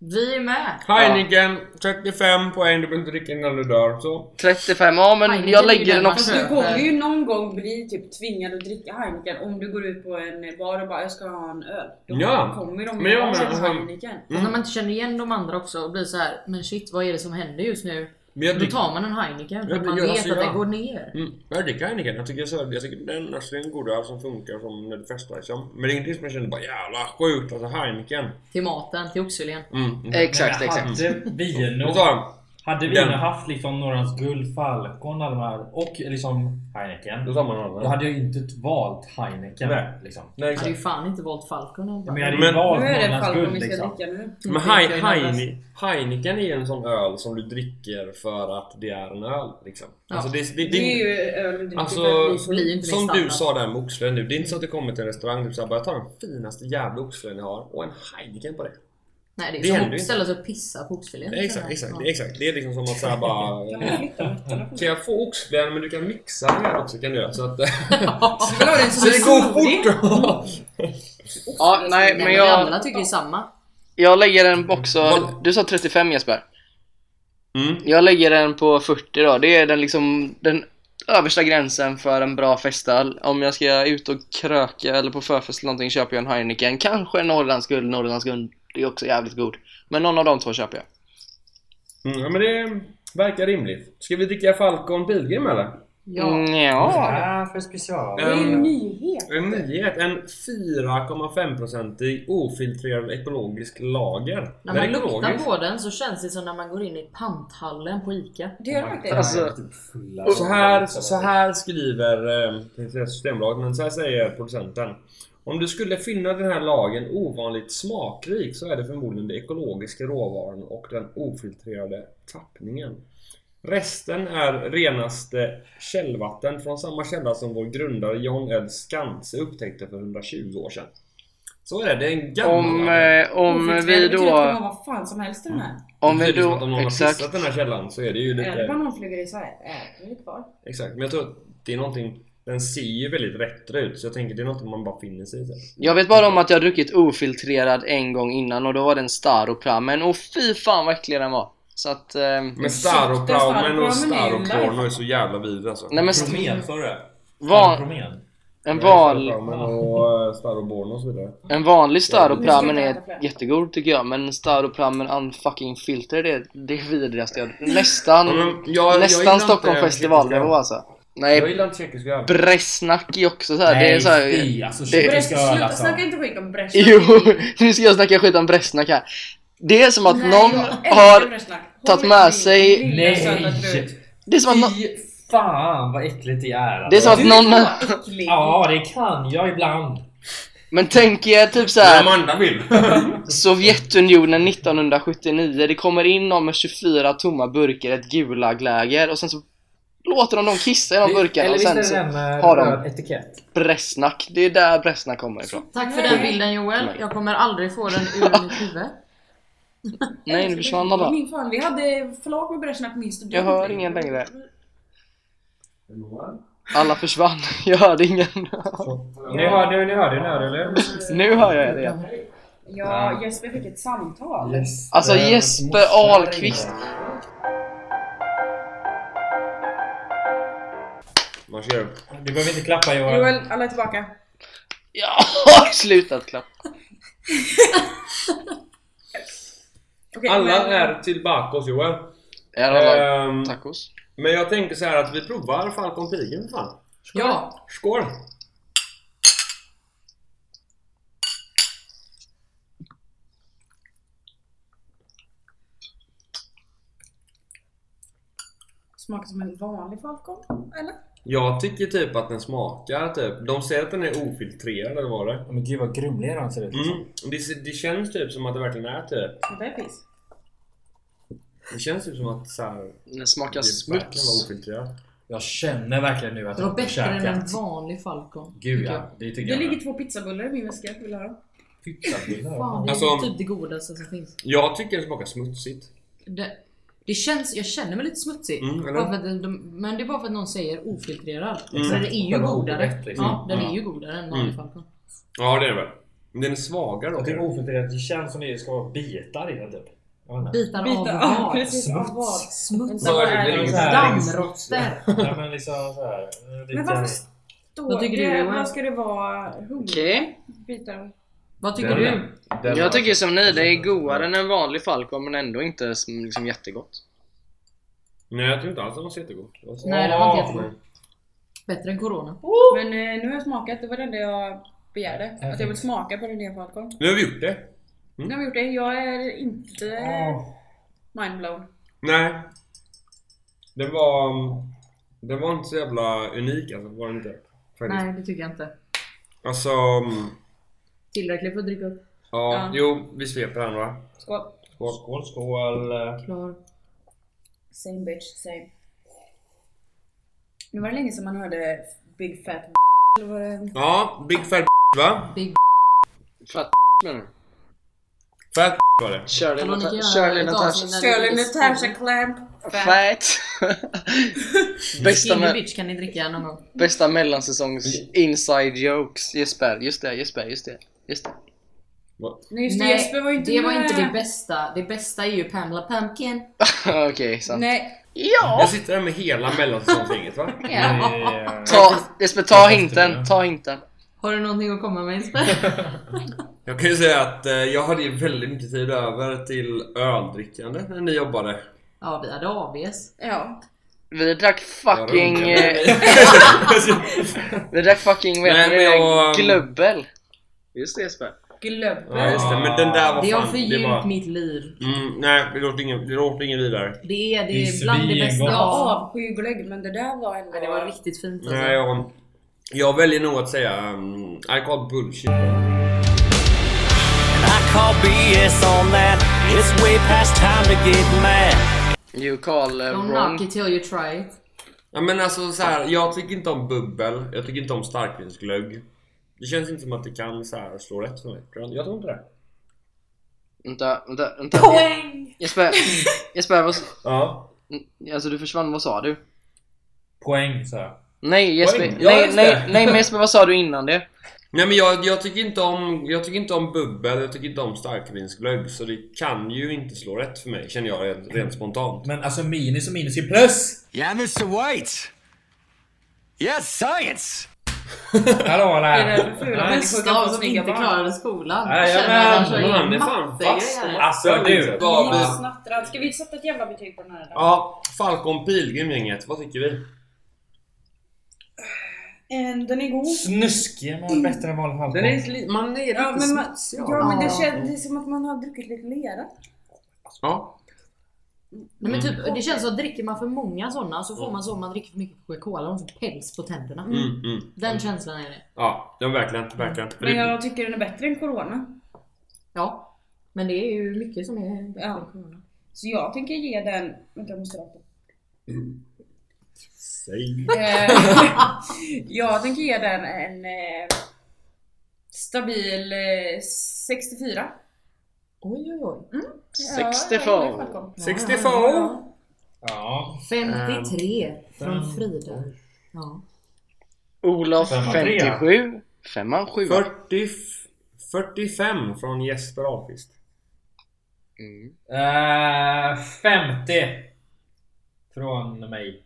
S5: Vi är med!
S1: Heineken, 35 poäng, du behöver inte dricka innan du dör.
S2: Alltså,
S1: Så.
S2: 35, ja men
S5: Heineken
S2: jag
S5: är ju
S2: lägger
S5: den
S2: den
S5: man
S2: också.
S3: Fast
S1: Alltså,
S3: du kommer ju någon gång bli typ tvingad att dricka Heineken om du går ut på en bar och bara jag ska ha en öl. Då
S1: Ja.
S3: kommer de
S1: Men
S3: ju
S1: jag
S3: ha
S1: menar, alltså-
S3: en
S1: han-
S3: Heineken.
S1: Mm.
S5: Fast Alltså, när man inte känner igen de andra också och blir så här, men shit vad är det som händer just nu?
S1: Men jag
S5: Då
S1: dricker,
S5: tar man en Heineken för
S1: Jag
S5: att man
S1: tycker jag
S5: vet
S1: ser
S5: att
S1: det.
S5: den går ner.
S1: mm, jag dricker Heineken. Jag tycker, så, jag tycker den alltså, det är en god öl som funkar som när du festar liksom. Men det är ingenting som jag känner bara jävla sjukt alltså Heineken.
S5: Till maten, till oxfilén.
S1: Mm.
S2: Exakt, exakt.
S4: Hade
S1: Vi
S4: viner
S1: tar den.
S4: hade vi
S1: Den.
S4: haft liksom Norrlands guld, Falcon alla de här och liksom
S1: Då
S4: Heineken.
S1: tar man den
S4: Då
S1: andra.
S4: hade jag ju inte valt Heineken.
S1: Nej.
S4: Liksom.
S1: Nej,
S5: Jag hade ju
S1: exakt.
S5: fan inte valt Falcon. om
S4: Men
S5: jag
S4: jag hade ju
S1: Men-
S4: valt
S3: Nu är det
S4: Norrlands
S3: Falcon
S4: guld
S3: vi ska
S4: liksom.
S3: dricka nu.
S1: Men
S5: tänkte
S1: Hein-
S5: jag innan dess.
S1: Heine- Heineken är en sån öl som du dricker för att det är en öl liksom.
S5: Ja.
S1: Alltså, det, är- det,
S3: Det är ju öl du dricker
S1: Alltså,
S3: för att bli
S5: Det blir ju inte min
S1: Som du
S5: standard.
S1: sa där med oxfilén nu, det är inte så att du kommer till en restaurang och bara jag tar den finaste jävla oxfilén jag har och en Heineken på det.
S5: Nej det
S1: Det
S5: är
S1: händer
S5: som
S1: ju
S5: att
S1: inte.
S5: ställa sig och pissa på oxfilén.
S1: Nej, exakt, exakt,
S5: Ja.
S1: det är exakt. Det är liksom som att säga
S5: <laughs>
S1: bara...
S3: Jag vill
S1: <laughs>
S3: flytta nötterna på
S1: Kan jag få oxfilén men du kan mixa den här också kan du göra så
S5: <laughs>
S1: att...
S5: Vill du ha den som
S1: så det
S5: är
S1: går
S5: snorig?
S1: fort!
S2: Ja, nej
S5: Nej,
S2: men
S5: Vi
S2: jag...
S5: alla tycker ju samma.
S2: Jag lägger den också,
S1: Mm. Vad-
S2: du sa 35 Jesper.
S1: Mm.
S2: Jag lägger den på 40 då, det är den liksom den översta gränsen för en bra festöl. Om jag ska ut och kröka eller på förfest eller någonting köper jag en Heineken, kanske en Norrlands guld, Norrlands guld är också jävligt god. Men någon av de två köper jag.
S1: Mm, ja, men det verkar rimligt. Ska vi dricka Falcon Pilgrim eller?
S5: Ja.
S2: Mm, ja.
S4: Ja, för special.
S3: Det är ju
S1: Ehm,
S3: en nyhet.
S1: En nyhet, en 4,5% ofiltrerad ekologisk lager.
S5: När
S1: Den
S5: man
S1: är
S5: luktar
S1: ekologisk.
S5: på den så känns det som när man går in i panthallen på ICA.
S3: Det gör det faktiskt.
S2: Alltså-
S4: Typ fulla.
S1: Så här, så här skriver eh, inte säga Systembolaget, men så här säger producenten. Om du skulle finna den här lagen ovanligt smakrik så är det förmodligen de ekologiska råvaran och den ofiltrerade tappningen. Resten är renaste källvatten från samma källa som vår grundare John L. Skantze upptäckte för 120 år sedan. Så är det, det är en gammal...
S2: Om, eh, om vi
S3: Det kan vara
S2: då...
S3: vad fan som helst i den här.
S2: Om vi
S1: det är som att om
S2: då...
S1: någon har
S2: Exakt.
S1: pissat den här källan så är det ju
S4: Mm.
S3: Är det
S1: lite...
S3: bara någon flugor i Sverige? Är det kvar?
S1: Exakt, men jag tror att det är någonting... Den ser ju väldigt rättre ut så jag tänker det är något man bara finner sig i. sen.
S2: Jag vet bara om att jag har druckit ofiltrerad en gång innan och då var den Staropramen och fy fan vad äcklig den var. Så att... ehm,
S1: Men
S3: Staropramen
S1: Staropraumen
S3: är ju
S1: och Staroporno
S3: live.
S1: är så jävla vidriga alltså.
S2: nej men st-
S4: Promen, sa du det?
S2: van,
S4: Promen.
S2: en,
S1: Nej,
S2: val,
S1: Staropraumen och eh, Staroborno och så vidare.
S2: en vanlig
S3: Nu
S2: Staropramen
S3: ska jag äta
S2: är
S3: fler.
S2: jättegod tycker jag men Staropramen unfucking filter det, det är vidrigaste jag...
S1: Ja,
S2: Nästan...
S1: men jag- jag gillar
S2: nästan
S1: inte
S2: Stockholm festivalnivå
S1: tjeckiska-
S2: alltså.
S1: Mm. Jag
S2: Nej,
S1: gillar inte tjeckisk öl.
S2: Bresnak är också såhär.
S4: Nej,
S2: Det är såhär...
S4: fy, alltså,
S2: det-
S4: det,
S3: Brest,
S4: ska öl
S3: sluta
S4: alltså.
S3: snacka inte skit om Brest.
S2: Jo, <laughs> nu ska jag snacka skit om Bresnak här. Det är som att
S3: Nej,
S2: någon
S3: jag älskar
S2: har...
S3: Bresnak. Håll
S2: tagit med
S3: dig till
S2: sig-
S3: din lilla söta brud.
S4: Nej!
S2: Det är som att någon...
S4: Fy fan vad äckligt det är. Alltså.
S2: Det är som att
S3: Du
S2: någon...
S3: är så äcklig.
S4: Ja, det kan jag ibland.
S2: Men tänk er typ så
S1: Men
S2: här.
S1: Amanda vill!
S2: Sovjetunionen 1979, det kommer in någon med 24 tomma burkar, i ett gulagläger och sen så låter de dem kissa i de burkarna
S4: Eller
S2: och
S4: visst är
S2: sen
S4: det
S2: så
S4: den med
S2: har de.
S4: röd etikett?
S2: Bresnak, det är där Bresnak kommer ifrån.
S5: Tack för
S4: Mm.
S5: den bilden Joel, jag kommer aldrig få den ur mitt huvud.
S2: Nej, nu försvann den då.
S3: Min fan, vi hade förlag med Brezjnev minst och du.
S2: Jag hör ingen längre. Alla försvann, <laughs> jag hörde ingen.
S4: Ni hör, nu, ni hör det nu eller?
S2: Nu hör jag det igen.
S3: Ja, Jesper fick ett samtal.
S2: Alltså
S5: Eh,
S2: Jesper Ahlqvist.
S1: Varsågod.
S4: Du behöver inte klappa Johan.
S3: Joel, alla är tillbaka.
S2: Jag har <laughs> slutat klappa.
S3: Okej,
S1: Alla
S3: men-
S1: är tillbaka hos Joel.
S2: Jag har
S4: Eh,
S2: lagt
S1: Ehm,
S2: tacos.
S1: men jag tänker så här att vi provar Falcon Pigen för fan.
S5: Ja,
S1: Skål!
S3: Smakar som en vanlig Falcon, eller?
S1: Jag tycker typ att den smakar typ. De säger att den är ofiltrerad eller vad var det?
S4: Men gud vad grumliga de ser ut. liksom.
S1: Mm. Det, det känns typ som att det verkligen är typ.
S3: Det är piss.
S1: Det känns typ som att så här,
S2: Den smakar
S1: det verkligen var
S2: smuts.
S1: ofiltrerat.
S4: Jag känner verkligen nu att
S5: det var
S4: jag har
S5: bättre än en
S4: käkat.
S5: vanlig Falcon.
S4: Gud ja, det tycker
S3: Det
S4: jag.
S3: ligger
S4: med.
S3: två pizzabullar i min väska. Vill du ha dem?
S5: Fan, det är
S1: Alltså-
S5: typ det godaste som finns.
S1: Jag tycker den smakar smutsigt.
S5: Det, det känns, jag känner mig lite smutsig.
S1: Mm, eller?
S5: Bara för att de- de, men det är bara för att någon säger ofiltrerad.
S1: Mm.
S5: För det är ju
S4: Själva
S5: godare.
S4: ordet, liksom.
S5: Ja, den
S4: Ja.
S5: är ju godare än vanlig
S1: Mm.
S5: Falcon.
S1: Ja det är det väl. Men den är svagare
S4: Jag tycker
S1: då.
S4: ofiltrerat, det känns som det ska vara bitar i den typ. Jag vet inte.
S3: <laughs>
S5: Bitar
S3: Bitar
S5: av
S3: av,
S5: vad?
S3: precis, av vad?
S5: Smuts.
S3: Vänta, vad är
S1: Det är
S3: det?
S1: ingen-
S5: Dammråttor.
S4: Ja men liksom såhär.
S3: Men varför står
S5: Vad tycker du,
S3: det?
S5: Johan?
S3: Vad ska det vara? Hummerbitar?
S2: Okej.
S5: Vad tycker
S1: Den-
S5: du?
S1: Den
S2: Jag
S1: har-
S2: tycker som ni, det är godare än en vanlig Falcon men ändå inte som, liksom jättegott.
S1: Nej jag tycker inte alls den var så jättegod. Det var så-
S5: Nej, det var inte
S4: Åh,
S5: jättegod. Bättre än corona.
S3: Men eh, nu har jag smakat. Det var det enda jag begärde. Att jag vill smaka på den nya Falcon.
S1: Nu har vi gjort det.
S3: Nu har vi gjort det. Jag är inte mindblown.
S1: Nej. Det var... Det var inte så jävla unik alltså, var det inte? Faktiskt.
S5: Nej, det tycker jag inte.
S1: Alltså...
S5: Tillräckligt för att dricka upp.
S1: Ja,
S3: Ja.
S1: jo, vi sveper här va?
S3: Skål.
S4: Skål, skål.
S5: Klar.
S3: Same bitch, same. Nu var det länge sedan man hörde Big Fat eller vad det...
S1: Ja, Big Fat va?
S5: Big
S2: Fatt menar du?
S1: Fat var det.
S2: Shirley
S5: Kan man inte
S2: Nata-
S5: göra
S2: Shirley
S5: ett
S2: Natasha...
S5: avsnitt när det
S3: Skål
S5: ligger
S3: Natasha
S5: skog?
S3: Clamp! Fat.
S2: Fat! bästa,
S5: Skinny
S2: me-
S5: bitch kan ni dricka någon gång.
S2: bästa mellansäsongs inside jokes. Jesper, just det, Jesper, just det. Just det.
S3: Nej just det,
S5: Nej,
S3: Jesper var ju inte
S5: det
S3: med.
S5: var inte det bästa. Det bästa är ju Pamela Pumpkin.
S2: <laughs> Okej, sant.
S3: Nej,
S1: Jag sitter här med hela mellansäsongsgänget va?
S3: ja.
S4: eh,
S2: Ta, Jesper, ta hinten, ta hinten.
S5: Har du någonting att komma med Jesper?
S1: <laughs> Jag kan ju säga att eh, jag hade ju väldigt mycket tid över till öldrickande när ni jobbade.
S5: ja, vi hade ABS.
S3: ja.
S2: Vi drack fucking...
S1: Jag runkade. <laughs>
S2: eh, vi drack fucking, vad
S1: Nej,
S2: heter
S1: men
S2: det?
S1: jag- um,
S2: Glubbel. Just det Jesper.
S3: Glöm.
S1: Ja just det, men den där var
S5: Det har
S1: fan...
S5: förgyllt
S1: var-
S5: mitt liv.
S1: Mm, nej, det låter ingen, det låter ingen vidare.
S5: Det är, det
S4: Det är
S5: är bland det
S4: svingott.
S5: bästa jag
S3: Jag
S5: har.
S3: avskyr glögg men det där var ändå...
S5: Ja, Det var riktigt fint alltså.
S1: Nej, jag, jag väljer nog att säga um, I call bullshit.
S7: I call BS on that. It's way past time to get mad.
S2: You call eh,
S5: Don't
S2: wrong.
S5: knock it till you try it.
S1: Ja men alltså så här, jag tycker inte om bubbel, jag tycker inte om starkvinsglögg. Det känns inte som att det kan så här slå rätt för mig. tror jag. Jag tror inte det.
S2: Vänta, vänta, vänta.
S3: Poäng!
S2: Jesper, Jesper vad, s-
S1: Ja.
S2: alltså du försvann, vad sa du?
S4: Poäng sa jag.
S2: Nej Jesper,
S1: Poäng. Ja,
S2: nej,
S1: just
S2: nej,
S1: det.
S2: nej men Jesper vad sa du innan det?
S1: <laughs> Nej men jag, jag, tycker inte om, jag tycker inte om bubbel, jag tycker inte om starkvinsglögg. Så det kan ju inte slå rätt för mig känner jag rent, rent spontant.
S4: Men alltså minus och minus är plus!
S7: Yeah, Mr. White! Yes, science!
S4: Hallå
S3: Är det
S4: där!
S3: för fula människor
S5: Bästa
S3: kan
S5: av
S3: få
S5: som
S3: snygga
S5: inte
S3: barn?
S5: klarade skolan.
S4: Nej,
S5: Jag
S4: jag
S5: känner att han
S1: Men
S5: kör
S1: han är
S5: in
S1: fan fast.
S5: mattegrejer.
S4: Alltså du!
S1: Vad-
S3: Vi snattrar. Ska vi sätta ett jävla betyg på den här? då?
S1: Ja, Falcon Pilgrim gänget, vad tycker vi?
S3: Eh, Den är god.
S4: Snuskiga var bättre än vanlig halvkorv.
S1: Den är li- man är
S3: Ja
S1: lite
S3: men, man,
S1: smutsig av
S3: ja, men det
S5: Ja.
S3: känns det är som att man har druckit lite lera.
S1: Ja.
S5: Nej, men typ, det känns som att dricker man för många sådana så får man så om man dricker för mycket Coca-Cola. Man får päls på tänderna.
S1: Mm, mm.
S5: Den känslan är det.
S1: Ja, den verkligen, verkligen. För
S3: Men
S1: det-
S3: jag tycker den är bättre än Corona.
S5: Ja. Men det är ju mycket som är bättre
S3: Ja.
S5: än Corona.
S3: Så jag tänker ge den... Vänta jag måste dra på.
S1: Säg.
S3: Eh, <laughs> jag tänker ge den en eh, stabil eh, 64.
S5: Oj, oj, oj.
S3: Ja,
S2: 64.
S1: 64!
S4: Ja.
S1: Ehm,
S5: 53 från
S4: fem-
S5: Frida. Ja.
S2: Olof
S4: Femman
S2: 57, femman 7.
S1: 40, f- 45 från Jesper Ahlqvist.
S2: Mm.
S4: Eh, 50. Från mig.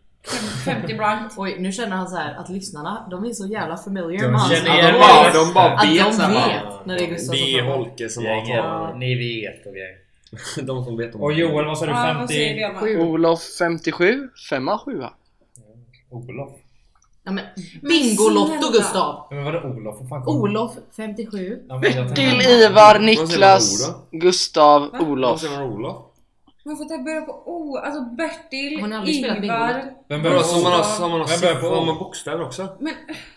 S3: 50 blankt.
S5: Oj, nu känner han så här att lyssnarna, de är så jävla familiar
S4: De
S5: med hans
S4: känner
S1: Ja, de,
S4: igen
S5: analys.
S1: bara, de bara
S5: Att
S1: vet så
S5: de
S1: här.
S5: vet när det är Gustav
S1: Det är
S5: som pratar.
S1: Holke som har
S4: Gänget,
S1: talat.
S4: ni vet och grejer.
S1: De som vet om
S4: Och Joel, vad sa du?
S3: Ja, vad säger
S4: 50?
S3: vi om
S2: Olof 57, femman 7.
S4: Olof?
S5: Ja, men, Bingolotto
S3: snälla.
S5: Gustav!
S4: Men vadå Olof? Vad fan kom-
S5: Olof 57.
S4: Ja, men jag tänkte-
S2: Bertil, Ivar,
S1: Vad
S2: Niklas,
S1: säger
S2: Gustav,
S3: Va?
S1: Olof.
S2: Olof.
S1: Vad säger man Olof?
S3: Man får ta börja på O. Alltså Bertil,
S5: Hon har aldrig spelat
S3: Ingvar.
S4: Vem
S1: Vadå, som man har,
S4: börjar
S1: som man har,
S4: Vem börjar på
S1: siffror,
S4: O?
S1: har man bokstäver också?
S3: Men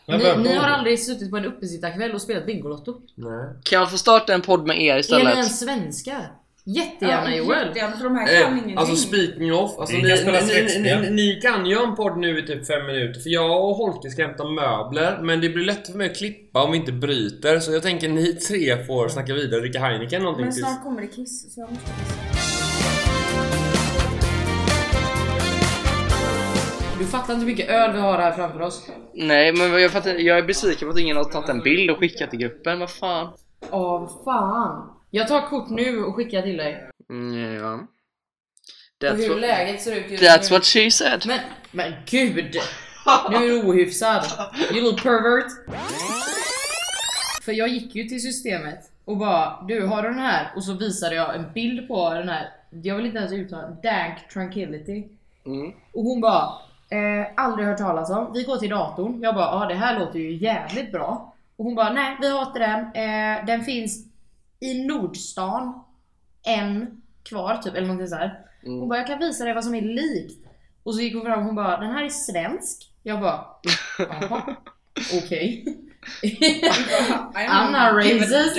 S4: Vem
S5: Ni,
S4: börjar
S5: ni har
S4: på?
S5: aldrig suttit på en uppesittarkväll och spelat Bingolotto?
S1: Nej.
S2: Kan jag få starta en podd med er
S5: Är ni
S2: istället?
S5: ens svenska? Jättegärna
S3: ja,
S5: Joel!
S3: jättegärna, för de här kan
S1: Eh,
S3: ingenting.
S1: alltså speaking of, alltså,
S4: Vi
S1: ni,
S4: kan spela
S1: ni, ni,
S4: släktspel.
S1: ni, ni kan ju ha en podd nu i typ 5 minuter för jag och Holke ska hämta möbler men det blir lätt för mig att klippa om vi inte bryter så jag tänker ni tre får snacka vidare och dricka Heineken någonting
S3: men
S1: tills...
S3: snart kommer det kiss så jag måste kissa.
S5: Du fattar inte hur mycket öl vi har här framför oss.
S2: Nej men jag, fattar, jag är besviken på att ingen har tagit en bild och skickat till gruppen, vad fan?
S5: Åh, vad fan. Jag tar kort nu och skickar till dig.
S2: Mm, ja.
S5: och
S2: That's
S5: hur
S2: what,
S5: läget ser ut just
S2: that's
S5: nu.
S2: what she said.
S5: Men, men gud! Nu är du ohyfsad. You little pervert. För jag gick ju till systemet och bara du har du den här och så visade jag en bild på den här. Jag vill inte ens uttala Dank Tranquility.
S2: Mm.
S5: Och hon bara eh, aldrig hört talas om. Vi går till datorn. Jag bara ja ah, det här låter ju jävligt bra. Och hon bara nej vi har inte den. Eh, den finns i Nordstan. En kvar typ eller någonting så här. Hon
S2: Mm.
S5: bara jag kan visa dig vad som är likt. Och så gick hon fram och hon bara den här är svensk. Jag bara jaha okej. Anna raises.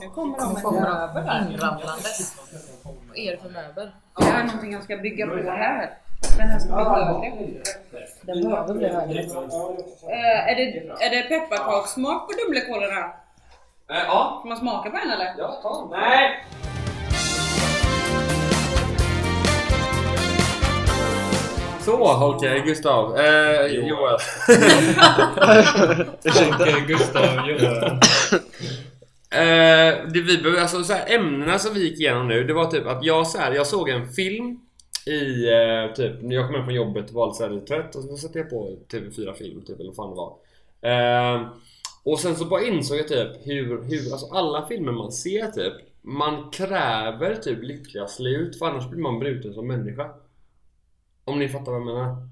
S3: Nu kommer de med det.
S5: Inramlandes. Vad är det för möbel?
S3: Det är någonting jag ska bygga på här. Den här ska bli högre.
S5: Den behöver bli högre.
S3: Eh, är, det, är det pepparkakssmak på Dumlekolorna?
S1: Eh, ja,
S3: Får man smaka på en eller?
S1: ja, ta Nej! Så Holke, Gustav, eh, Joel.
S4: Okej, Gustav, Joel.
S1: Eh, det vi behöver, alltså så här, ämnena som vi gick igenom nu, det var typ att jag så här, jag såg en film i eh, typ, när jag kom hem från jobbet och var lite så här lite trött och så satte jag på TV4 film typ eller vad fan det var. Eh, och sen så bara insåg jag typ hur, hur, alltså alla filmer man ser typ, man kräver typ lyckliga slut för annars blir man bruten som människa. Om ni fattar vad jag menar.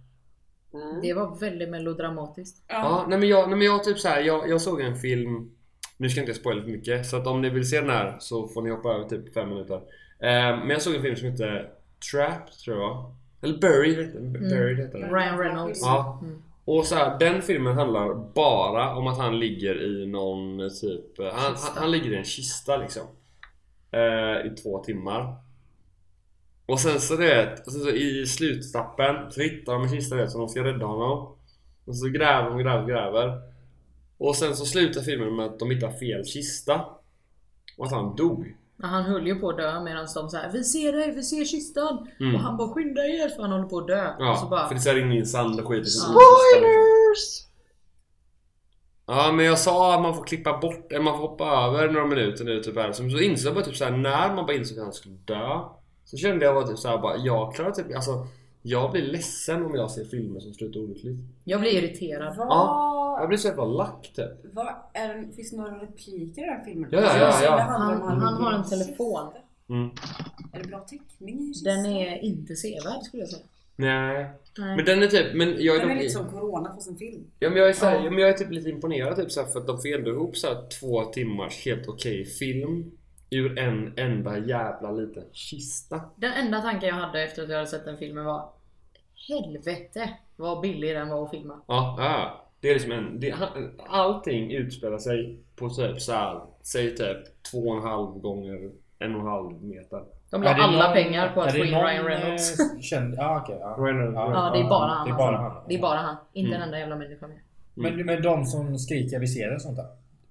S5: Det var väldigt melodramatiskt.
S1: Ja, nej men jag, nej men jag typ så här, jag, jag såg en film Nu ska jag inte spoila för mycket så att om ni vill se den här så får ni hoppa över typ fem minuter eh, Men jag såg en film som hette Trap tror jag Eller Buried hette den, Buried hette den
S5: Ryan Reynolds.
S1: Ja
S5: Mm.
S1: Och så här, den filmen handlar eh, bara om att han ligger i någon typ han, han, han ligger i en kista liksom eh, i två timmar. Och sen så det, och sen så i slutstappen så hittar de en kista vet, så de ska rädda honom. Och så gräver de, gräver, gräver. Och sen så slutar filmen med att de hittar fel kista. Och att han dog.
S5: Men han höll ju på att dö medan de så här Vi ser dig, vi ser kistan!
S1: Mm.
S5: Och han bara skynda er för han håller på att dö.
S1: Ja,
S5: och så Alltså bara,
S1: för det så här rinner in sand och skit. i sin kista.
S2: Spoilers!
S1: Ja men jag sa att man får klippa bort, eller man får hoppa över några minuter nu typ här. Så så insåg jag bara typ såhär när man bara insåg att han skulle dö. Så kände jag bara typ såhär bara, jag klarar typ, alltså jag blir ledsen om jag ser filmer som slutar olyckligt.
S5: jag blir irriterad.
S1: Jag
S3: Vad...
S1: blir så jävla lack typ.
S3: Vad är, finns det några repliker i den här filmen?
S1: Ja, ja, ja,
S3: Alltså,
S1: ja.
S3: det handlar om
S5: Han- han har en telefon.
S1: Mm.
S3: Är det bra täckning i kistan?
S5: Den är inte sevärd skulle jag säga.
S1: Nej.
S5: Nej.
S1: Men den är typ, men jag är,
S3: Den är
S1: dock-
S3: lite som Corona fast en film.
S1: ja, men jag är, så här,
S5: Ja.
S1: ja. men jag är typ lite imponerad typ så här, för att de får ändå ihop så här, två timmars helt okej film ur en enda jävla liten kista.
S5: Den enda tanken jag hade efter att jag hade sett den filmen var Helvete vad billig den var att filma.
S1: Ja, ja. Det är liksom en, det, han- allting utspelar sig på typ så här, säg typ två och en halv gånger en och en halv meter.
S5: De la
S4: Är det
S5: alla
S4: någon-
S5: pengar på att
S4: är
S5: få
S4: det
S5: in
S4: någon,
S5: Ryan Reynolds.
S4: eh, Känd, ja, okej, ja.
S1: Ryan Reynolds.
S5: Ja, det är bara han.
S4: Det är
S5: alltså.
S4: bara han.
S5: Det är bara han. Inte
S1: Mm.
S5: en enda jävla människa mer.
S4: Men, men de som skriker vid serien och sånt där?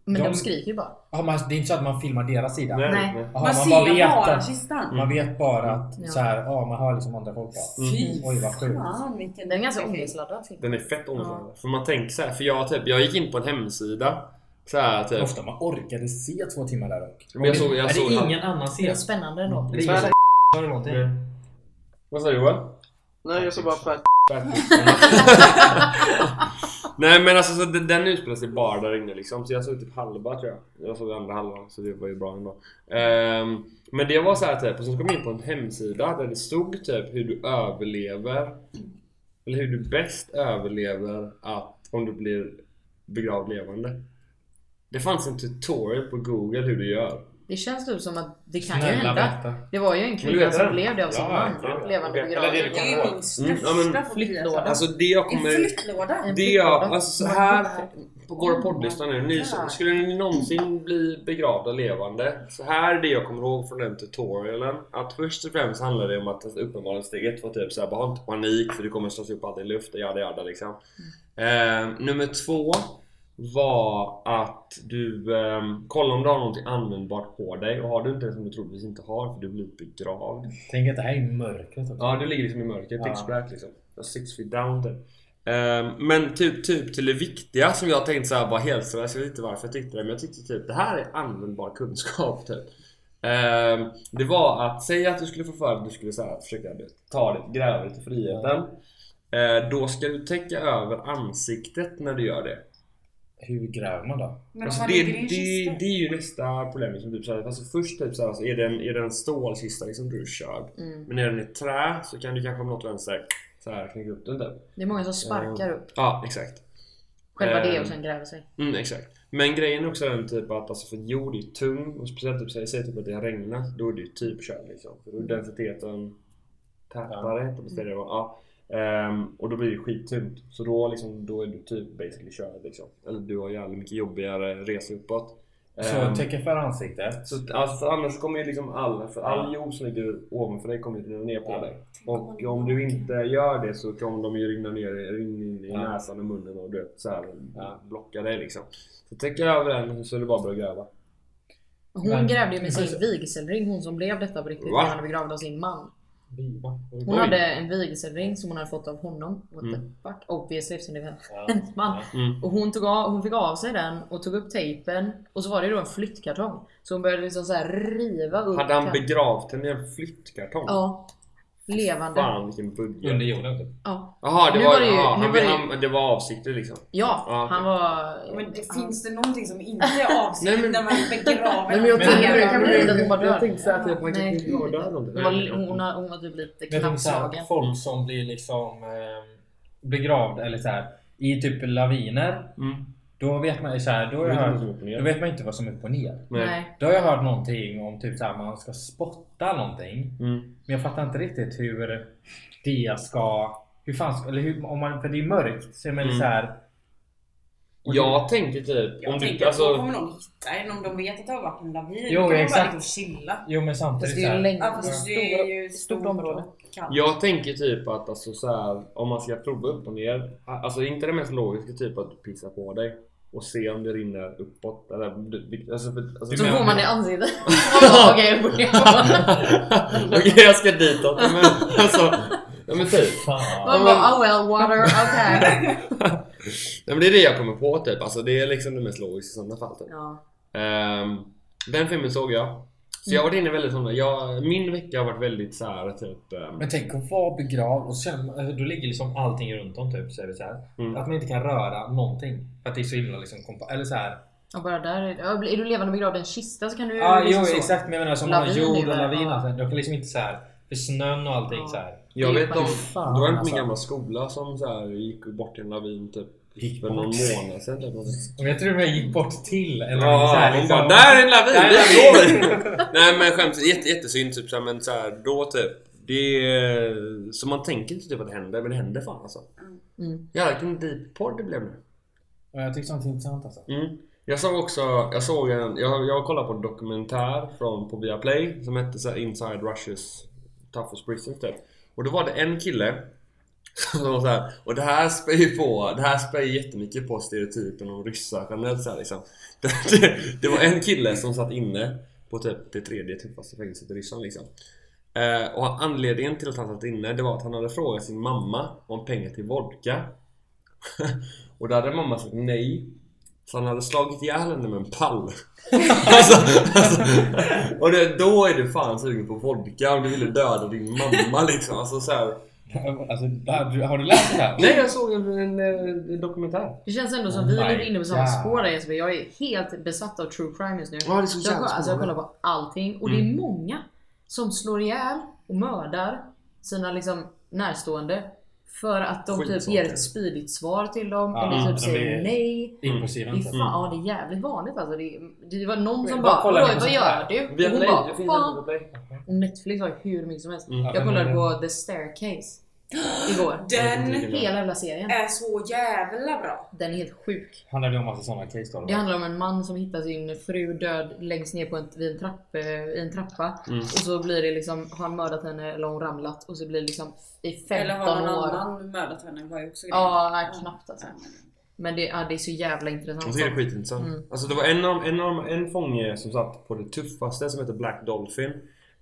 S5: Men de,
S4: De-
S5: skriker ju bara.
S4: Har man, det är inte så att man filmar deras sida?
S5: Nej.
S4: Jaha,
S3: man
S4: bara
S3: ser
S4: vet
S3: bara
S4: att-
S3: kistan.
S4: Man vet bara att
S5: Ja.
S4: så här, ja, man hör liksom andra folk
S1: Mm.
S4: bara.
S3: Fy
S4: Oj, vad sjukt.
S3: fan vilken...
S5: Den är ganska ångestladdad. film.
S1: Den är fett ångestladdad. För man tänker så här, för jag typ, jag gick in på en hemsida så här typ.
S4: Ofta man orkade se två timmar där dock.
S1: Men jag såg, jag
S6: är
S1: såg
S6: det ingen annan
S5: Det är
S6: serie?
S5: spännande ändå.
S6: Är
S4: Mm.
S6: det ingen som eller någonting?
S1: Nej. Vad sa du Johan?
S2: Nej, jag sa bara fett.
S1: Nej men alltså så den, den utspelar sig bara där inne liksom Så jag såg typ halva tror jag Jag såg andra halvan så det var ju bra ändå Ehm, Men det var så här typ, och sen så kom jag in på en hemsida där det stod typ hur du överlever Eller hur du bäst överlever att om du blir begravd levande Det fanns en tutorial på google hur du gör
S5: Det känns typ som att det kan ju
S4: Snälla
S5: hända.
S4: berätta.
S5: Det var ju en
S1: Vill du
S5: kvinna
S1: veta
S5: som
S1: den?
S5: blev det av sin
S1: Ja,
S5: man.
S1: ja, ja.
S5: Levande
S1: Okej,
S5: begravd.
S1: eller det
S3: Det är ju min största
S1: Mm, ja, men
S3: fobi.
S5: flyttlåda.
S3: alltså.
S1: Alltså det jag
S3: En
S1: kommer
S3: flyttlåda?
S5: En
S1: Det jag,
S5: flyttlåda.
S1: alltså så här på våra poddlyssnare nu, ni, skulle ni någonsin bli begravda levande? Så här är det jag kommer ihåg från den tutorialen. Att först och främst handlar det om att alltså, uppenbarligen steg ett var typ såhär, bara ha inte panik för du kommer slås upp allt i luften, jada jada liksom. Eh, nummer två var att du ehm, kolla om du har något användbart på dig och har du inte det som du troligtvis inte har för du blir begravd.
S4: Tänk att det här är mörkret också.
S1: Ja, du ligger liksom i mörkret.
S4: Ja.
S1: Pitch black liksom. Six feet down typ. Ehm, men typ, typ till det viktiga som jag tänkte såhär bara helt sådär, jag vet inte varför jag tyckte det men jag tyckte typ det här är användbar kunskap typ. Ehm, det var att säga att du skulle få för dig att du skulle så här, försöka du vet, ta dig, gräva dig till friheten. Eh, då ska du täcka över ansiktet när du gör det.
S4: Hur gräver man då?
S3: Men
S1: Alltså
S3: om man
S1: det,
S3: ligger i en
S1: det,
S3: kista?
S1: det är ju nästa problem. Liksom, typ, såhär, alltså först typ, såhär, alltså, är det en, är det en stålkista liksom, du är körd.
S5: Mm.
S1: Men är den i trä så kan du kanske om något vänster så här knäcka upp den typ.
S5: Det är många som sparkar upp.
S1: Ja, exakt.
S4: Eh,
S5: Själva det och
S1: ehm.
S5: sen gräver sig.
S1: Mm, exakt. Men grejen är också den typ att alltså, för jord är ju tung och speciellt typ, säg- säg typ att det har regnat, då är det ju typ kört liksom. För då är densiteten tätare, heter det, det var. ja. Ehm, och då blir det skittungt. Så då, liksom, då är du typ basically körd liksom. Eller du har jävligt mycket jobbigare resa uppåt.
S4: Så
S1: Ehm,
S4: täcka för ansiktet.
S1: så att, alltså, annars kommer ju liksom all, för all jord som ligger ovanför dig kommer ju rinna ner på
S4: Ja.
S1: dig. Och om du inte gör det så kommer de ju rinna ner rinna in i
S4: Ja.
S1: näsan och munnen och du vet, så här,
S4: Ja.
S1: blocka dig liksom. Så täcker jag över den så är det bara att börja gräva.
S5: Hon
S4: Men-
S5: grävde ju med sin vigselring, hon som blev detta på riktigt.
S1: Va?
S5: Hon hade begravd av sin man.
S4: Viva.
S5: Hon
S1: Oj.
S5: hade en vigselring som hon hade fått av honom. What
S1: Mm.
S5: the fuck? Obviously eftersom det var
S4: Ja.
S5: hennes man.
S1: Mm.
S5: Och hon, tog av, hon fick av sig den och tog upp tejpen. Och så var det ju då en flyttkartong. Så hon började liksom så här riva upp
S1: Hade han
S5: kart-
S1: begravt henne i en flyttkartong?
S5: Ja. Levande.
S1: Fan vilken budget.
S6: Under jorden typ.
S5: Ja.
S1: Jaha, det
S5: Nu
S1: var,
S5: var det ju-
S1: ja,
S5: nu
S1: han,
S5: var det ju-
S1: han, det var avsiktligt liksom.
S5: Ja,
S1: Ja, okej.
S5: han var...
S3: Ja, Men det,
S5: han-
S3: finns det någonting som
S5: <laughs>
S3: inte är
S1: Nej, men-
S3: avslutat när man begraver
S5: Nej, men jag
S3: någon?
S5: tänker-
S3: Men-
S5: jag kan bli- jag bara dör.
S1: tänkte såhär typ, han
S5: Nej.
S1: kanske inte dödade någonting.
S5: Hon var, hon, har- hon var typ lite
S4: Men typ såhär,
S5: knappslagen.
S4: folk som blir liksom eh, begravda eller såhär i typ laviner.
S1: Mm.
S4: Då vet man ju såhär, då, har
S1: Vet
S4: jag
S1: inte vad som är
S4: hört-
S1: upp och ner.
S4: då vet man inte vad som är upp och ner.
S1: Nej.
S5: Nej.
S4: Då har jag hört någonting om typ såhär man ska spotta någonting.
S1: Mm.
S4: Men jag fattar inte riktigt hur det ska... Hur fan ska... Eller hur, om man, för det är mörkt. Så är man lite
S1: Mm.
S4: så här.
S1: Jag tänker typ...
S3: Jag
S1: Om
S3: tänker
S1: du,
S3: att då
S1: alltså,
S3: kommer någon hitta en om de vet att det har varit en lavin.
S4: Jo,
S3: då kan de bara
S4: exakt.
S3: ligga och chilla.
S4: Jo men samtidigt
S5: det är ju
S4: såhär.
S5: längre.
S3: Ja fast det är ju stort
S5: område.
S3: och kallt.
S1: jag tänker typ att alltså, så här, om man ska prova upp och ner. Alltså inte det mest logiska typ att pissa på dig. Och se om det rinner uppåt. Eller, du- alltså, för, alltså,
S5: Så får man det i ansiktet. Okej, jag börjar.
S1: <laughs> Okej jag ska ditåt. Men, alltså, ja, men typ.
S4: Fan.
S5: Man bara oh well, water, okay.
S1: <laughs> Nej, men det är det jag kommer på typ. Alltså, det är liksom det mest logiska i sådana fall. Typ.
S5: Ja.
S1: Ehm, den filmen såg jag. Så jag har varit inne väldigt sådana. Jag, min vecka har varit väldigt så här typ. ehm,
S4: Men tänk att vara begravd och sen alltså, då ligger liksom allting runt om typ säger vi så här.
S1: Mm.
S4: Att man inte kan röra någonting. För att det är så himla liksom kompa- Eller så här.
S5: Och bara där, är- ja, är du levande begravd i en kista så kan du
S4: Ja ah, jo
S5: liksom så.
S4: exakt men jag menar som man har
S5: Lavin
S4: jord
S5: är
S4: och
S5: väl-
S4: lavin
S5: ja.
S4: alltså. De kan liksom inte så här. För snön och allting
S5: Ja.
S4: så här.
S1: jag
S5: det är
S1: vet
S5: fan
S1: om.
S5: fan,
S1: Det var en på min
S5: alltså.
S1: gamla skola som så här, gick bort i en lavin typ.
S4: Gick
S1: För någon
S4: bort.
S1: månad sedan typ. någonting.
S4: Och jag tror jag gick bort till. Eller så
S1: Ja,
S4: här,
S1: hon
S4: liksom.
S1: bara Där är en lavin!
S4: Där är en
S1: <laughs> Där
S4: <laughs>
S1: Nej men skämt jätte, jättesynd typ så här, men så här, då typ. Det är, så man tänker inte typ att det händer men det händer fan alltså.
S5: Mm.
S1: Jävlar vilken deep podd det blev nu.
S4: Ja, jag tyckte sånt är intressant alltså. <laughs>
S1: Mm. Jag såg också, jag såg en, jag, jag kollade på en dokumentär från, på Viaplay som hette så här, Inside Russia's Toughest Prisoners typ. Och då var det en kille <laughs> som var så här, och det här spär ju på, det här spär ju jättemycket på stereotypen om ryssar generellt så här, liksom. <laughs> det, det, det var en kille som satt inne på typ det tredje tuffaste fängelset i Ryssland liksom. Eh, och han- anledningen till att han satt inne det var att han hade frågat sin mamma om pengar till vodka. <laughs> och då hade mamma sagt nej. Så han hade slagit ihjäl henne med en <laughs> pall. alltså, alltså, och det, då är du fan sugen på vodka om du ville döda din mamma liksom. Alltså, så här.
S4: alltså har du- har du läst det här?
S1: Nej jag såg en, en, eh, dokumentär.
S5: Det känns ändå som
S4: Oh
S5: vi
S4: my
S5: är lite inne på samma
S4: God.
S5: spår där Jesper. Jag är helt besatt av true crime just nu.
S1: Ja, det är så
S5: jag,
S1: jävla Mm.
S5: kollar, alltså, jag kollar
S1: spännande.
S5: på allting och det är många som slår ihjäl och mördar sina liksom, närstående för att de typ
S1: Skitsaker.
S5: ger ett spydigt svar till dem
S4: Ja,
S5: eller
S4: de
S5: typ säger
S4: är-
S5: nej.
S4: Impulsiva.
S1: Mm.
S5: Det är, fan, ja, det är jävligt vanligt alltså. Det, är- det var någon som
S4: Vad
S5: bara
S4: kollar ni på
S5: "Vadå, vad
S4: sånt här?"
S5: gör du? Och hon
S1: Viaplay, det
S5: bara
S1: finns
S5: fan.
S1: inte på Play.
S5: Och Netflix har ju hur mycket som helst.
S1: Mm.
S5: Jag kollade
S4: eh,
S5: på The Staircase igår.
S3: Den
S5: Hela jävla serien.
S3: är så jävla bra.
S5: Den är helt sjuk.
S4: Handlar det om massa sådana case då?
S5: Det handlar om en man som hittar sin fru död längst ner på en, vid en trapp, eh, i en trappa.
S1: Mm.
S5: Och så blir det liksom, har han mördat henne eller har hon ramlat? Och så blir det liksom i 15
S3: Eller har någon
S5: år.
S3: annan mördat henne? var ju också grejen.
S5: Ja, nej, knappt alltså. Men det, ja, det är så jävla intressant.
S1: Jag tycker det är skitintressant.
S5: Mm.
S1: Alltså det var en, av, en, av, en fånge som satt på det tuffaste som hette Black Dolphin.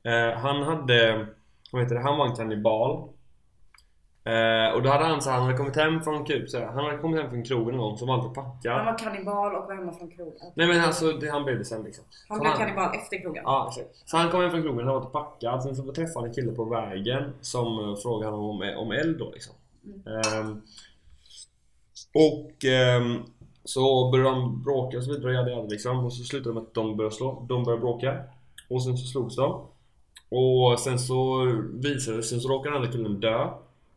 S1: Eh, han hade, vad heter det, han var en kannibal. Eh, och då hade han så här, han hade kommit hem från Kuba, så här, han hade kommit hem från krogen en gång som var alltid
S3: Han
S1: packad.
S3: var kannibal och var hemma från krogen.
S1: Nej men alltså det, han blev det sen liksom.
S3: Han
S1: Så
S3: blev kannibal efter krogen.
S1: Ja, exakt. Så han kom hem från krogen, han var inte packad. Sen så träffade han en kille på vägen som eh, frågade honom om, om eld då liksom. Ehm, och ehm, så började de bråka och så vidare, jada, jada, liksom. Och så slutade det med att de började slå. De började bråka. Och sen så slogs de. Och sen så visade det sig, så råkade den andra killen dö.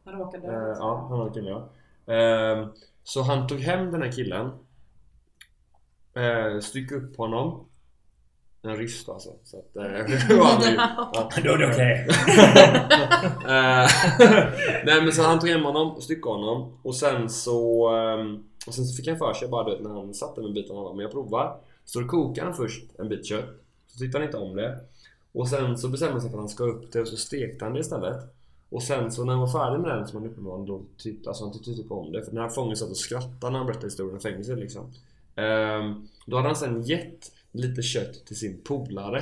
S3: Han råkade dö.
S1: Eh, ja, han hade killen ja. Ehm, Så han tog hem den här killen. Uh, styckade upp honom. En ryss då, alltså. Så att, eh, <laughs> och
S4: <laughs>
S1: han blev- ja.
S4: Då är det okej.
S1: Eh, <laughs> Nej men så han tog hem honom och styckade honom. Och sen så, ehm, och sen så fick han för sig bara du vet, när han satte den biten. Han bara, men jag provar. Så då kokade han först en bit kött. Så tyckte han inte om det. Och sen så bestämde han sig för att han ska upp det och så stekte han det istället. Och sen så när han var färdig med den som han uppenbarligen då tyckte, alltså han tyckte typ om det. För den här fången satt och skrattade när han berättade historien om fängelset liksom. Ehm, då hade han sen gett lite kött till sin polare.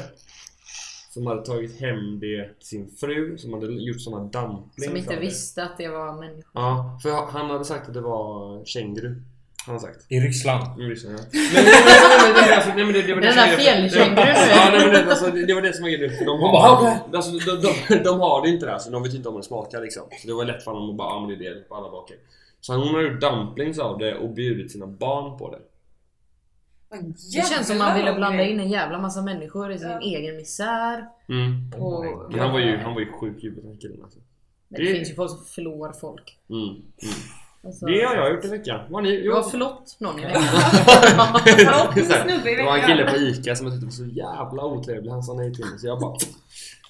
S1: Som hade tagit hem det till sin fru som hade gjort sån här dumpling
S5: Som inte
S1: för det.
S5: visste att det var människor.
S1: Ja, för han hade sagt att det var känguru. Han har sagt.
S4: I Ryssland.
S1: Mm, lyssna, ja. Men- men- men- men- men- alltså, nej, men det- det var det
S5: Den
S1: som
S5: där
S1: är grejen.
S5: fjällkängurun.
S1: Ja, nej, men det, alltså, det det var det som var grejen. För De
S4: bara,
S1: har, alltså, de, de, de har det inte där, så de vet inte om det smakar liksom. Så det var lätt för honom att bara, ja men det är det. Och alla bara okej. Så hon har gjort dumplings av det och bjudit sina barn på det.
S3: Men
S5: Det känns som
S3: jävlar
S5: man ville
S3: vad
S5: blanda
S3: grej.
S5: in en jävla massa människor i sin
S3: Ja.
S5: egen misär.
S1: Mm.
S5: Och,
S1: Men han var ju, han var ju sjuk i huvudet den här killen alltså.
S5: Men det finns ju folk som förlorar folk.
S1: Mm. Mm.
S5: Alltså,
S1: Det har jag gjort i veckan. Vad har ni
S5: jag
S1: gjort?
S5: har förlått någon i veckan.
S3: Ja,
S1: <laughs>
S3: det är en snubbe i
S1: Det var en
S3: veckan.
S1: kille på ICA som jag tyckte var så jävla otrevlig. Han sa nej till mig så jag bara...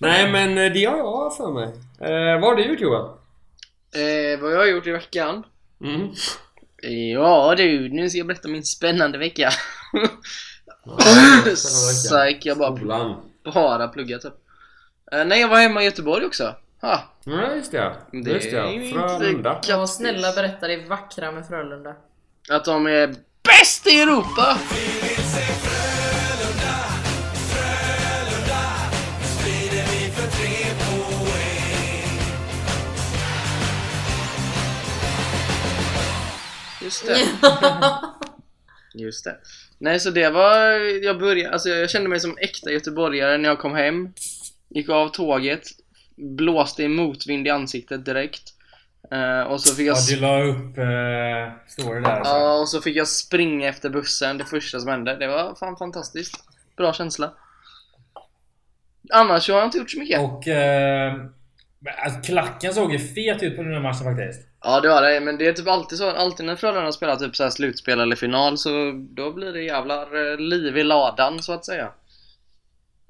S1: Nej men eh, det har jag för mig. Eh, vad har du gjort Johan?
S2: Eh, vad jag har gjort i veckan?
S1: Mm.
S2: Ja du, nu ska jag berätta om min spännande vecka. <laughs> Psyk, jag bara,
S1: Skolan.
S2: bara pluggat upp. Eh, nej, jag var hemma i Göteborg också. Ha,
S1: Ja, just det.
S2: Det
S1: Just
S2: är ju
S1: det.
S2: inte
S1: Frölunda.
S8: Jag var snälla berätta det vackra med Frölunda.
S2: att de är bäst i Europa! Just
S4: <laughs>
S2: det. Just det. Nej, så det var... Jag började... Alltså jag kände mig som äkta göteborgare när jag kom hem. Gick av tåget. Blåste i motvind i ansiktet direkt. Eh, och så fick jag...
S4: Ja, du la upp uh, story där alltså.
S2: Ja, och så fick jag springa efter bussen det första som hände. Det var fan fantastiskt. Bra känsla. Annars så har jag inte gjort så mycket.
S4: Och eh, men, alltså, klacken såg ju fet ut på den här matchen faktiskt.
S2: Ja, det var det. Men det är typ alltid så. Alltid när Frölunda spelar typ så här slutspel eller final så då blir det jävlar eh, liv i ladan så att säga. Eh,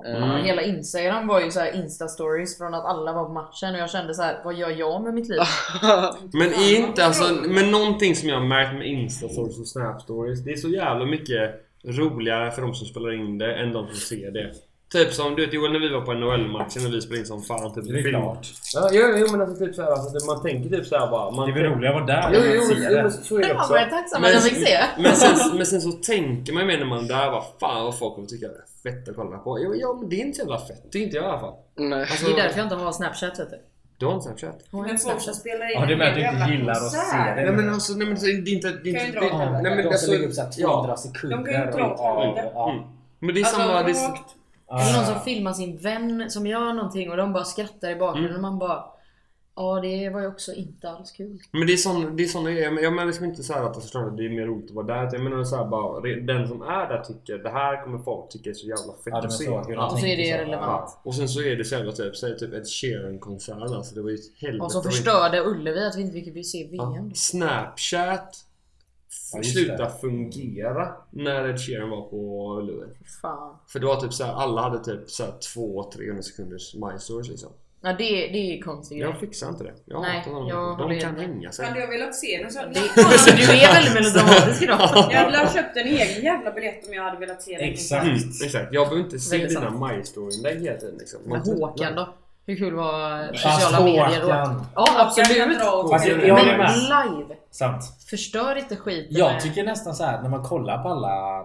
S4: Mm.
S1: Mm.
S8: Ja, Hela instagram var ju så här insta-stories från att alla var på matchen och jag kände så här: vad gör jag med
S1: Ah,
S8: mitt liv?
S2: Eh,
S1: Men är inte alltså, men någonting som jag har märkt med instastories och snapstories Det är så jävla mycket roligare för de som spelar in det än de som ser det Typ som du vet Joel när vi var på NHL-matchen när vi spelade in som fan typ
S4: Det är
S1: film.
S4: klart.
S1: Ja, jo, jo men alltså typ såhär alltså, man tänker typ såhär bara man
S4: Det är väl roligare att vara där.
S1: Jo,
S4: än att
S1: jo,
S4: se
S1: jo,
S4: det.
S1: men så är det
S8: Jag
S1: också
S8: var tacksam att jag fick se.
S1: men sen, men sen så tänker man ju mer när man är där bara fan vad folk kommer tycka det är fett att kolla på Jo, ja men det är inte så jävla fett, det är inte jag i alla fall
S2: <laughs> nej.
S1: alltså,
S8: Det är därför jag inte har snapchat vet du.
S1: Du har inte snapchat?
S8: Har jag
S3: Men
S8: inte
S3: folk som
S8: snapchat?
S3: spelar in
S4: Ja, du menar att du
S3: jävla
S4: inte gillar att se
S3: konsert.
S4: det?
S1: Nej men alltså nej men det är inte... Det är
S3: Kan
S1: inte
S3: ju dra av den
S1: nej men alltså... ja.
S4: sekunder
S3: De kan ju dra åt helvete.
S1: Mm. Men det är
S3: Alltså,
S1: samma... det är,
S3: rakt.
S8: Eller
S1: Ah.
S8: någon som filmar sin vän som gör någonting och de bara skrattar i bakgrunden
S1: Mm.
S8: och man bara Ja det var ju också inte alls kul.
S1: Men det är sån, det är såna grejer. Jag menar liksom inte så här att alltså, förstår du, det är mer roligt att vara där. Jag menar så här bara, re- den som är där tycker det här kommer folk tycka är så jävla fett
S4: Ja, det
S1: att se.
S4: så. Hur de
S8: Ja, och så är
S4: tänker
S8: det
S4: så.
S8: relevant.
S1: Ja. Och sen så är det så jävla typ, säg typ ett Sheeran-konsert alltså. Det var ju Ah. ett helvete.
S8: Och som
S1: att vi-
S8: förstörde Ullevi att vi inte fick se
S1: Ja.
S8: VM.
S1: Snapchat
S4: Ja, just
S1: slutade fungera när Ed Sheeran var på Ullevi.
S8: Fan.
S1: För det var typ så här, alla hade typ så här 200-300 sekunders MyStories liksom.
S8: Ja det, det är konstigt.
S1: Jag fixar inte det. Jag
S8: Nej,
S1: hatar honom.
S8: jag
S1: De
S8: håller
S1: kan
S8: med.
S1: hänga sig.
S3: Hade jag velat se den så hade
S8: Alltså, du är väldigt melodramatisk idag.
S1: <laughs>
S3: jag hade väl köpt en egen jävla biljett om jag hade velat se den.
S4: Exakt.
S1: Mm, exakt. Jag behöver inte se
S8: Väldigt
S1: dina MyStory-inlägg hela tiden liksom.
S8: Men Håkan då? Hur kul var
S4: Fast
S8: sociala medier då?
S4: Håkan.
S8: Ja
S3: Jag
S8: absolut!
S3: kan dra åt
S4: Fast jag,
S1: Men-
S4: jag
S8: Men
S4: håller med.
S8: live!
S4: Sant.
S8: Förstör inte skiten
S4: Jag
S8: med-
S4: tycker nästan så här när man kollar på alla...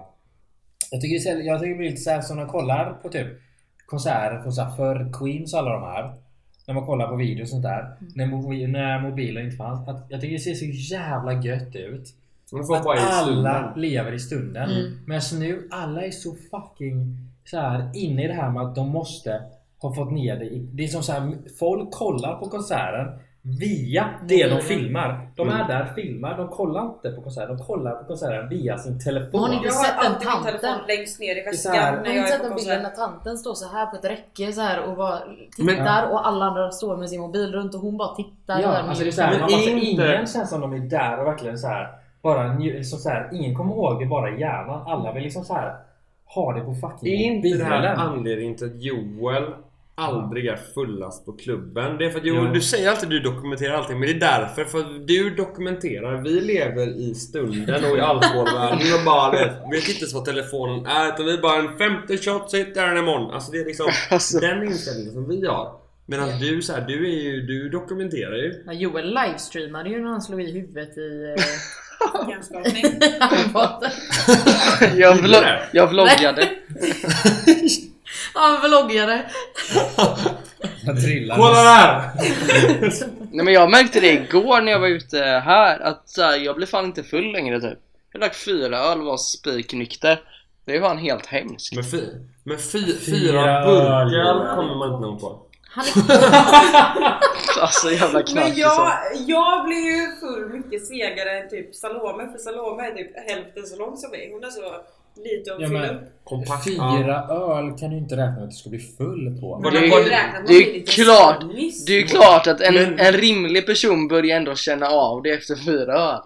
S4: Jag tycker, det är så- jag tycker det blir lite så här som när man kollar på typ konserter från så här förr, Queens och alla de här. När man kollar på videos och sånt där. När, mo- när mobilen inte fanns. Att, jag tycker det ser så jävla gött ut.
S1: Man får
S4: Att
S1: bara i
S4: alla
S1: stunden.
S4: lever i stunden.
S8: Mm.
S4: Men nu, alla är så fucking så här inne i det här med att de måste ha fått ner det. i- Det är som så här, folk kollar på konserten via det de
S8: Mobilen.
S4: filmar. De
S1: Mm.
S4: är där, filmar, de kollar inte på konserten. De kollar på konserten via sin
S8: Men
S4: telefon.
S8: har ni inte
S3: Jag har
S8: sett den
S3: alltid min
S8: tanten?
S3: telefon längst ner i
S4: Det är så
S3: väskan
S4: här-
S8: Har
S3: när
S8: ni
S3: jag
S8: sett
S3: är
S8: den
S3: på
S8: bilden när
S3: konsert.
S8: tanten står så här på ett räcke så här och bara tittar
S1: Men-
S8: och alla andra står med sin mobil runt och hon bara tittar
S4: Ja,
S8: där med-
S4: alltså det är så här,
S1: Men
S4: man, alltså,
S1: inte-
S4: ingen känns som de är där och verkligen så här bara nju- liksom så så här, ingen kommer ihåg det bara i hjärnan. Alla vill liksom så här ha det på fucking
S1: Är inte det här
S4: mobilen.
S1: anledningen till att Joel aldrig är fullast på klubben? Det är för att Joel,
S4: Jo.
S1: du säger alltid att du dokumenterar allting men det är därför. För att du dokumenterar. Vi lever i stunden och i alkoholvärlden och bara vet, vet inte ens vad telefonen är utan vi är bara en femte shot så hittar jag den imorgon. Alltså det är liksom
S4: <laughs>
S2: Alltså.
S1: den inställningen som vi har. Medan du så här, du är ju, du dokumenterar ju.
S8: Ja, Joel livestreamade ju när han slog i huvudet i
S3: <laughs> Hjärnskakning.
S8: eh, handfatet.
S3: <laughs>
S2: Jag,
S1: Gjorde
S2: vlog,
S1: det?
S8: <laughs>
S2: jag vloggade.
S8: Han vloggade.
S4: Jag trillar.
S1: Kolla där!
S2: Nej men jag märkte det igår när jag var ute här att så här, jag blev fan inte full längre typ. Jag drack fyra öl och var spiknykter. Det är fan helt hemskt.
S1: Men, fy, men fy,
S4: Fyra
S1: fyra
S4: öl.
S1: burkar kommer man inte någon på.
S8: Han är
S2: Alltså jävla liksom.
S3: Men
S2: knarkisar.
S3: jag, jag blir ju full mycket segare än typ Salome för Salome är typ hälften så lång som mig. Hon är så lite och
S4: Ja,
S3: full
S4: men-
S3: upp.
S1: Kompakt.
S4: Fyra öl kan du inte räkna med att du ska bli full på.
S1: Var
S3: Men
S1: det-
S3: jag
S1: var
S3: har
S1: det-
S3: ju räknat med
S2: det är
S3: att bli lite
S2: klart.
S3: sonis.
S2: Det är ju klart att en,
S1: Men-
S2: en rimlig person börjar ändå känna av det efter fyra öl.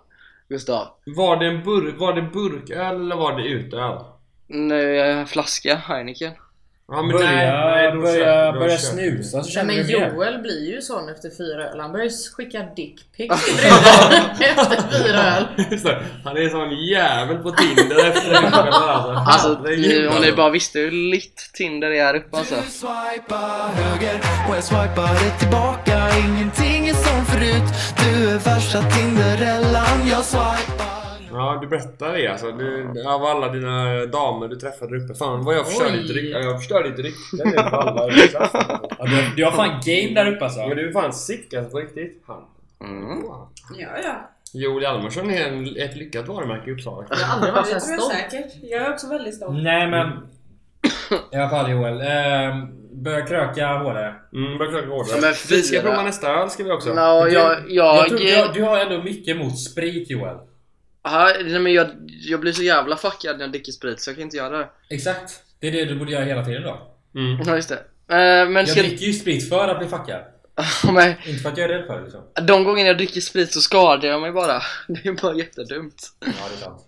S2: Gustav.
S1: Var det, en bur, var det burköl eller var det utöl?
S2: Nu är jag en flaska eh, Heineken.
S1: Ja, men
S4: Börja,
S1: nej, då
S4: börja,
S1: köper- då köper <laughs>
S4: börja snusa så
S8: Nej,
S4: känner du
S8: men
S4: det.
S8: Joel blir ju sån efter fyra öl. Han börjar ju skicka
S4: <laughs>
S8: dickpics till brudar <laughs> efter fyra öl.
S1: jag. Just det. Han är en sån jävel på Tinder efter en kväll alltså.
S2: Alltså,
S1: Herregud,
S2: ni, om ni bara visste hur litt Tinder är här uppe alltså.
S7: Du swipar höger och jag swipade tillbaka Ingenting är som förut Du är värsta Tinderellan Jag swipar
S1: Ja, du berättar det alltså. Du, av alla dina damer du träffade där uppe. Fan vad jag förstörde
S8: Oj.
S1: ditt rykte. Ja, Jag förstörde ditt rykte.
S4: <laughs>
S1: Det är för alla i klassen, alltså.
S4: Ja, du, du har fan game där uppe alltså.
S1: Men du är fan sick alltså på riktigt. Han.
S2: Mm.
S3: Ja, ja.
S1: Joel Hjalmarsson är en, ett lyckat varumärke i Uppsala.
S8: Jag har aldrig varit så här
S3: Det tror jag
S8: stolt.
S3: säkert. Jag är också väldigt stolt.
S4: Nej
S1: Mm.
S4: men... I alla fall Joel. ehm, börja kröka hårdare.
S1: Mm, börjar klockan
S2: Ja, men
S1: hårdare. Vi ska
S2: fyra.
S1: prova nästa öl ska vi också.
S2: No, jag,
S4: Du- Jag
S2: jag,
S4: tror, du, har- du har ändå mycket emot sprit Joel.
S2: Aha, nej, men jag, jag blir så jävla fuckad när jag dricker sprit så jag kan inte göra det.
S4: Exakt. Det är det du borde göra hela tiden då.
S1: Mm.
S2: Ja, just det. Eh, men
S4: Jag
S2: ska,
S4: dricker ju sprit för att bli fuckad.
S2: <laughs> men,
S4: Inte för att jag är rädd för det liksom.
S2: de gångerna jag dricker sprit så skadar jag mig bara. <laughs> Det är bara jättedumt.
S4: Ja, det är sant.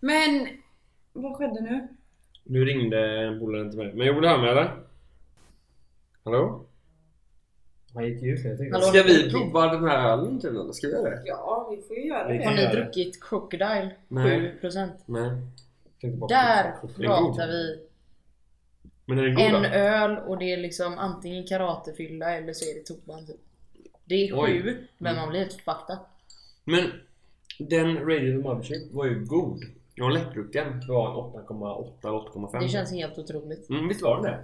S3: Men vad skedde nu?
S1: Nu ringde en polare till mig. Men Joel, hör mig eller? Hallå?
S4: Han gick ju ut jag tänkte-
S8: Hallå?
S1: Ska vi prova den här ölen typ eller? Ska vi göra det?
S3: Ja, vi får ju göra
S4: Vi
S8: Har
S3: det.
S4: kan
S8: ni
S4: göra det.
S8: druckit Crocodile?
S1: Nej.
S8: 7%.
S1: Nej. Tänkte bara-
S8: Där
S1: Den är god.
S8: pratar vi
S1: Men är den god
S8: en
S1: då?
S8: öl och det är liksom antingen karatefylla eller så är det toban typ. Det är
S1: Oj.
S8: sju, men man blir helt fucked up.
S1: Men den Radio Mothership var ju god. Och lättdrucken var en 8,8 eller 8,5.
S8: Det känns helt otroligt.
S1: Mm, visst var den det?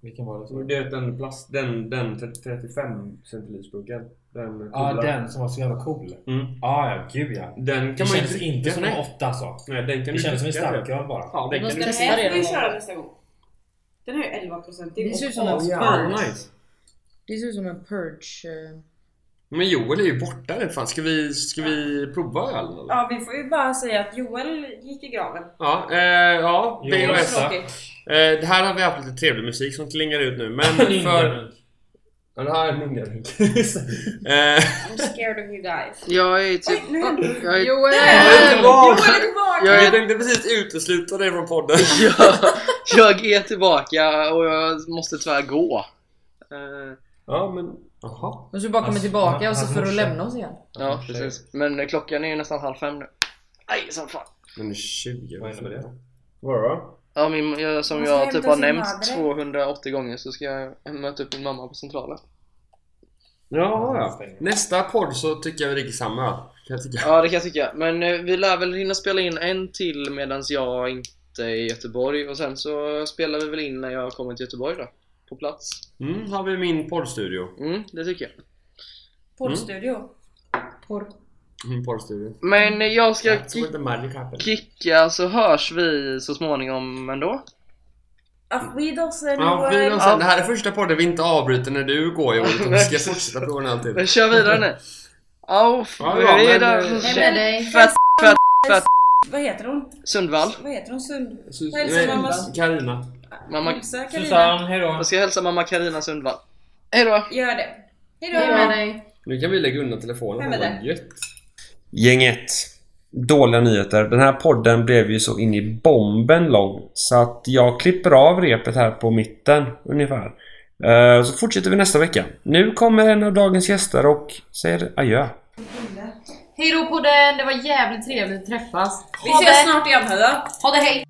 S4: Vilken var det? som-
S1: Du vet den plast... Den, den 35 centilitersburken. Den
S4: Ja,
S1: coola.
S4: den som var så jävla cool.
S1: Mm.
S4: Ja, ja, gud ja.
S1: Den
S4: Det
S1: kan man ju
S4: känns inte som en
S1: Nej.
S4: åtta alltså.
S1: Nej, den kan
S4: Det
S1: du
S4: känns som en
S1: dricka,
S4: starköl bara.
S1: Ja, den
S8: Vad
S1: kan du
S8: ska
S3: Den
S8: Testa
S3: här
S8: det
S3: får vi
S8: någon
S3: köra
S8: gång.
S3: nästa gång. Den är ju 11%
S8: Det ser ut som
S3: och
S8: en
S1: Ja,
S8: purge.
S1: nice.
S8: Det ser ut som en purge. eh.
S1: Men Joel är ju borta nu. Fan, ska vi, ska vi prova ölen eller?
S3: Ja, vi får ju bara säga att Joel gick i graven.
S1: Ja, eh, ja
S4: Joel.
S1: BOS. Eh,
S3: Tråkigt.
S1: det här har vi haft lite trevlig musik som <laughs> klingar ut nu. Men för... Ja, det här är en nyngarunk. <laughs> Eh,
S3: I'm scared of you guys.
S2: Jag är typ...
S3: Oj, nu hände det.
S2: Jag är,
S1: är
S8: Joel!
S1: tillbaka!
S3: Joel är tillbaka!
S2: Jag
S1: Jag
S2: är-
S1: tänkte precis utesluta dig från podden.
S2: jag, jag är tillbaka och jag måste tyvärr gå. Eh,
S1: Ja, men... Jaha.
S8: Och så bara kommer
S4: Alltså,
S8: tillbaka och så
S4: han-
S8: får
S4: han-
S8: du lämna oss igen.
S2: ja, precis. Men eh, klockan är ju nästan halv fem nu. Aj, som fan.
S1: Men 20
S4: Vad innebär det?
S1: Vadå?
S2: Ja, min, jag, som
S3: Man ska
S2: jag
S3: hämta
S2: typ har
S3: sin
S2: nämnt
S3: madre.
S2: 280 gånger så ska jag möta upp min mamma på centralen.
S1: Jaha, ja. Nästa podd så tycker jag vi dricker samma öl. Kan jag tycka.
S2: Ja, det kan jag tycka. Men eh, vi lär väl hinna spela in en till medan jag inte är i Göteborg och sen så spelar vi väl in när jag kommer till Göteborg då. På plats.
S1: Mm, har vi min poddstudio.
S2: Mm, det tycker jag.
S3: Poddstudio.
S8: Porr.
S1: Min poddstudio.
S2: Men eh, jag ska
S1: Som
S2: ki-
S1: heter Magic Apple.
S2: kicka så hörs vi så småningom ändå.
S3: Auf Wiedersehen
S1: Ja, vi
S3: Joel!
S1: då sen. Det här är första podden vi inte avbryter när du går Joel. Utan
S3: <laughs>
S1: vi ska fortsätta prova den alltid.
S2: Men kör vidare nu. Auf
S1: Ja, ja, men, eh,
S8: Hem med dig.
S2: Fett, fett, fett.
S3: Vad heter hon?
S2: Sundvall.
S3: Vad heter hon? Sund...
S1: Sus-
S3: Hälsa
S1: nej,
S3: mamma.
S1: Carina.
S2: Mamma,
S3: Hälsa Carina.
S4: Susanne, hejdå.
S2: jag ska hälsa mamma Karina Sundvall. Hejdå!
S3: Gör det. Hejdå!
S8: Hem med dig.
S1: Nu kan vi lägga undan telefonen.
S3: Vem är det?
S1: Vad gött. Gänget. Dåliga nyheter. Den här podden blev ju så in i bomben lång så att jag klipper av repet här på mitten ungefär. Eh, Så fortsätter vi nästa vecka. Nu kommer en av dagens gäster och säger adjö.
S8: Hej då på den, det var jävligt trevligt att träffas.
S3: Vi
S8: Ha
S3: ses
S8: det,
S3: snart igen hörru!
S8: ha det hej!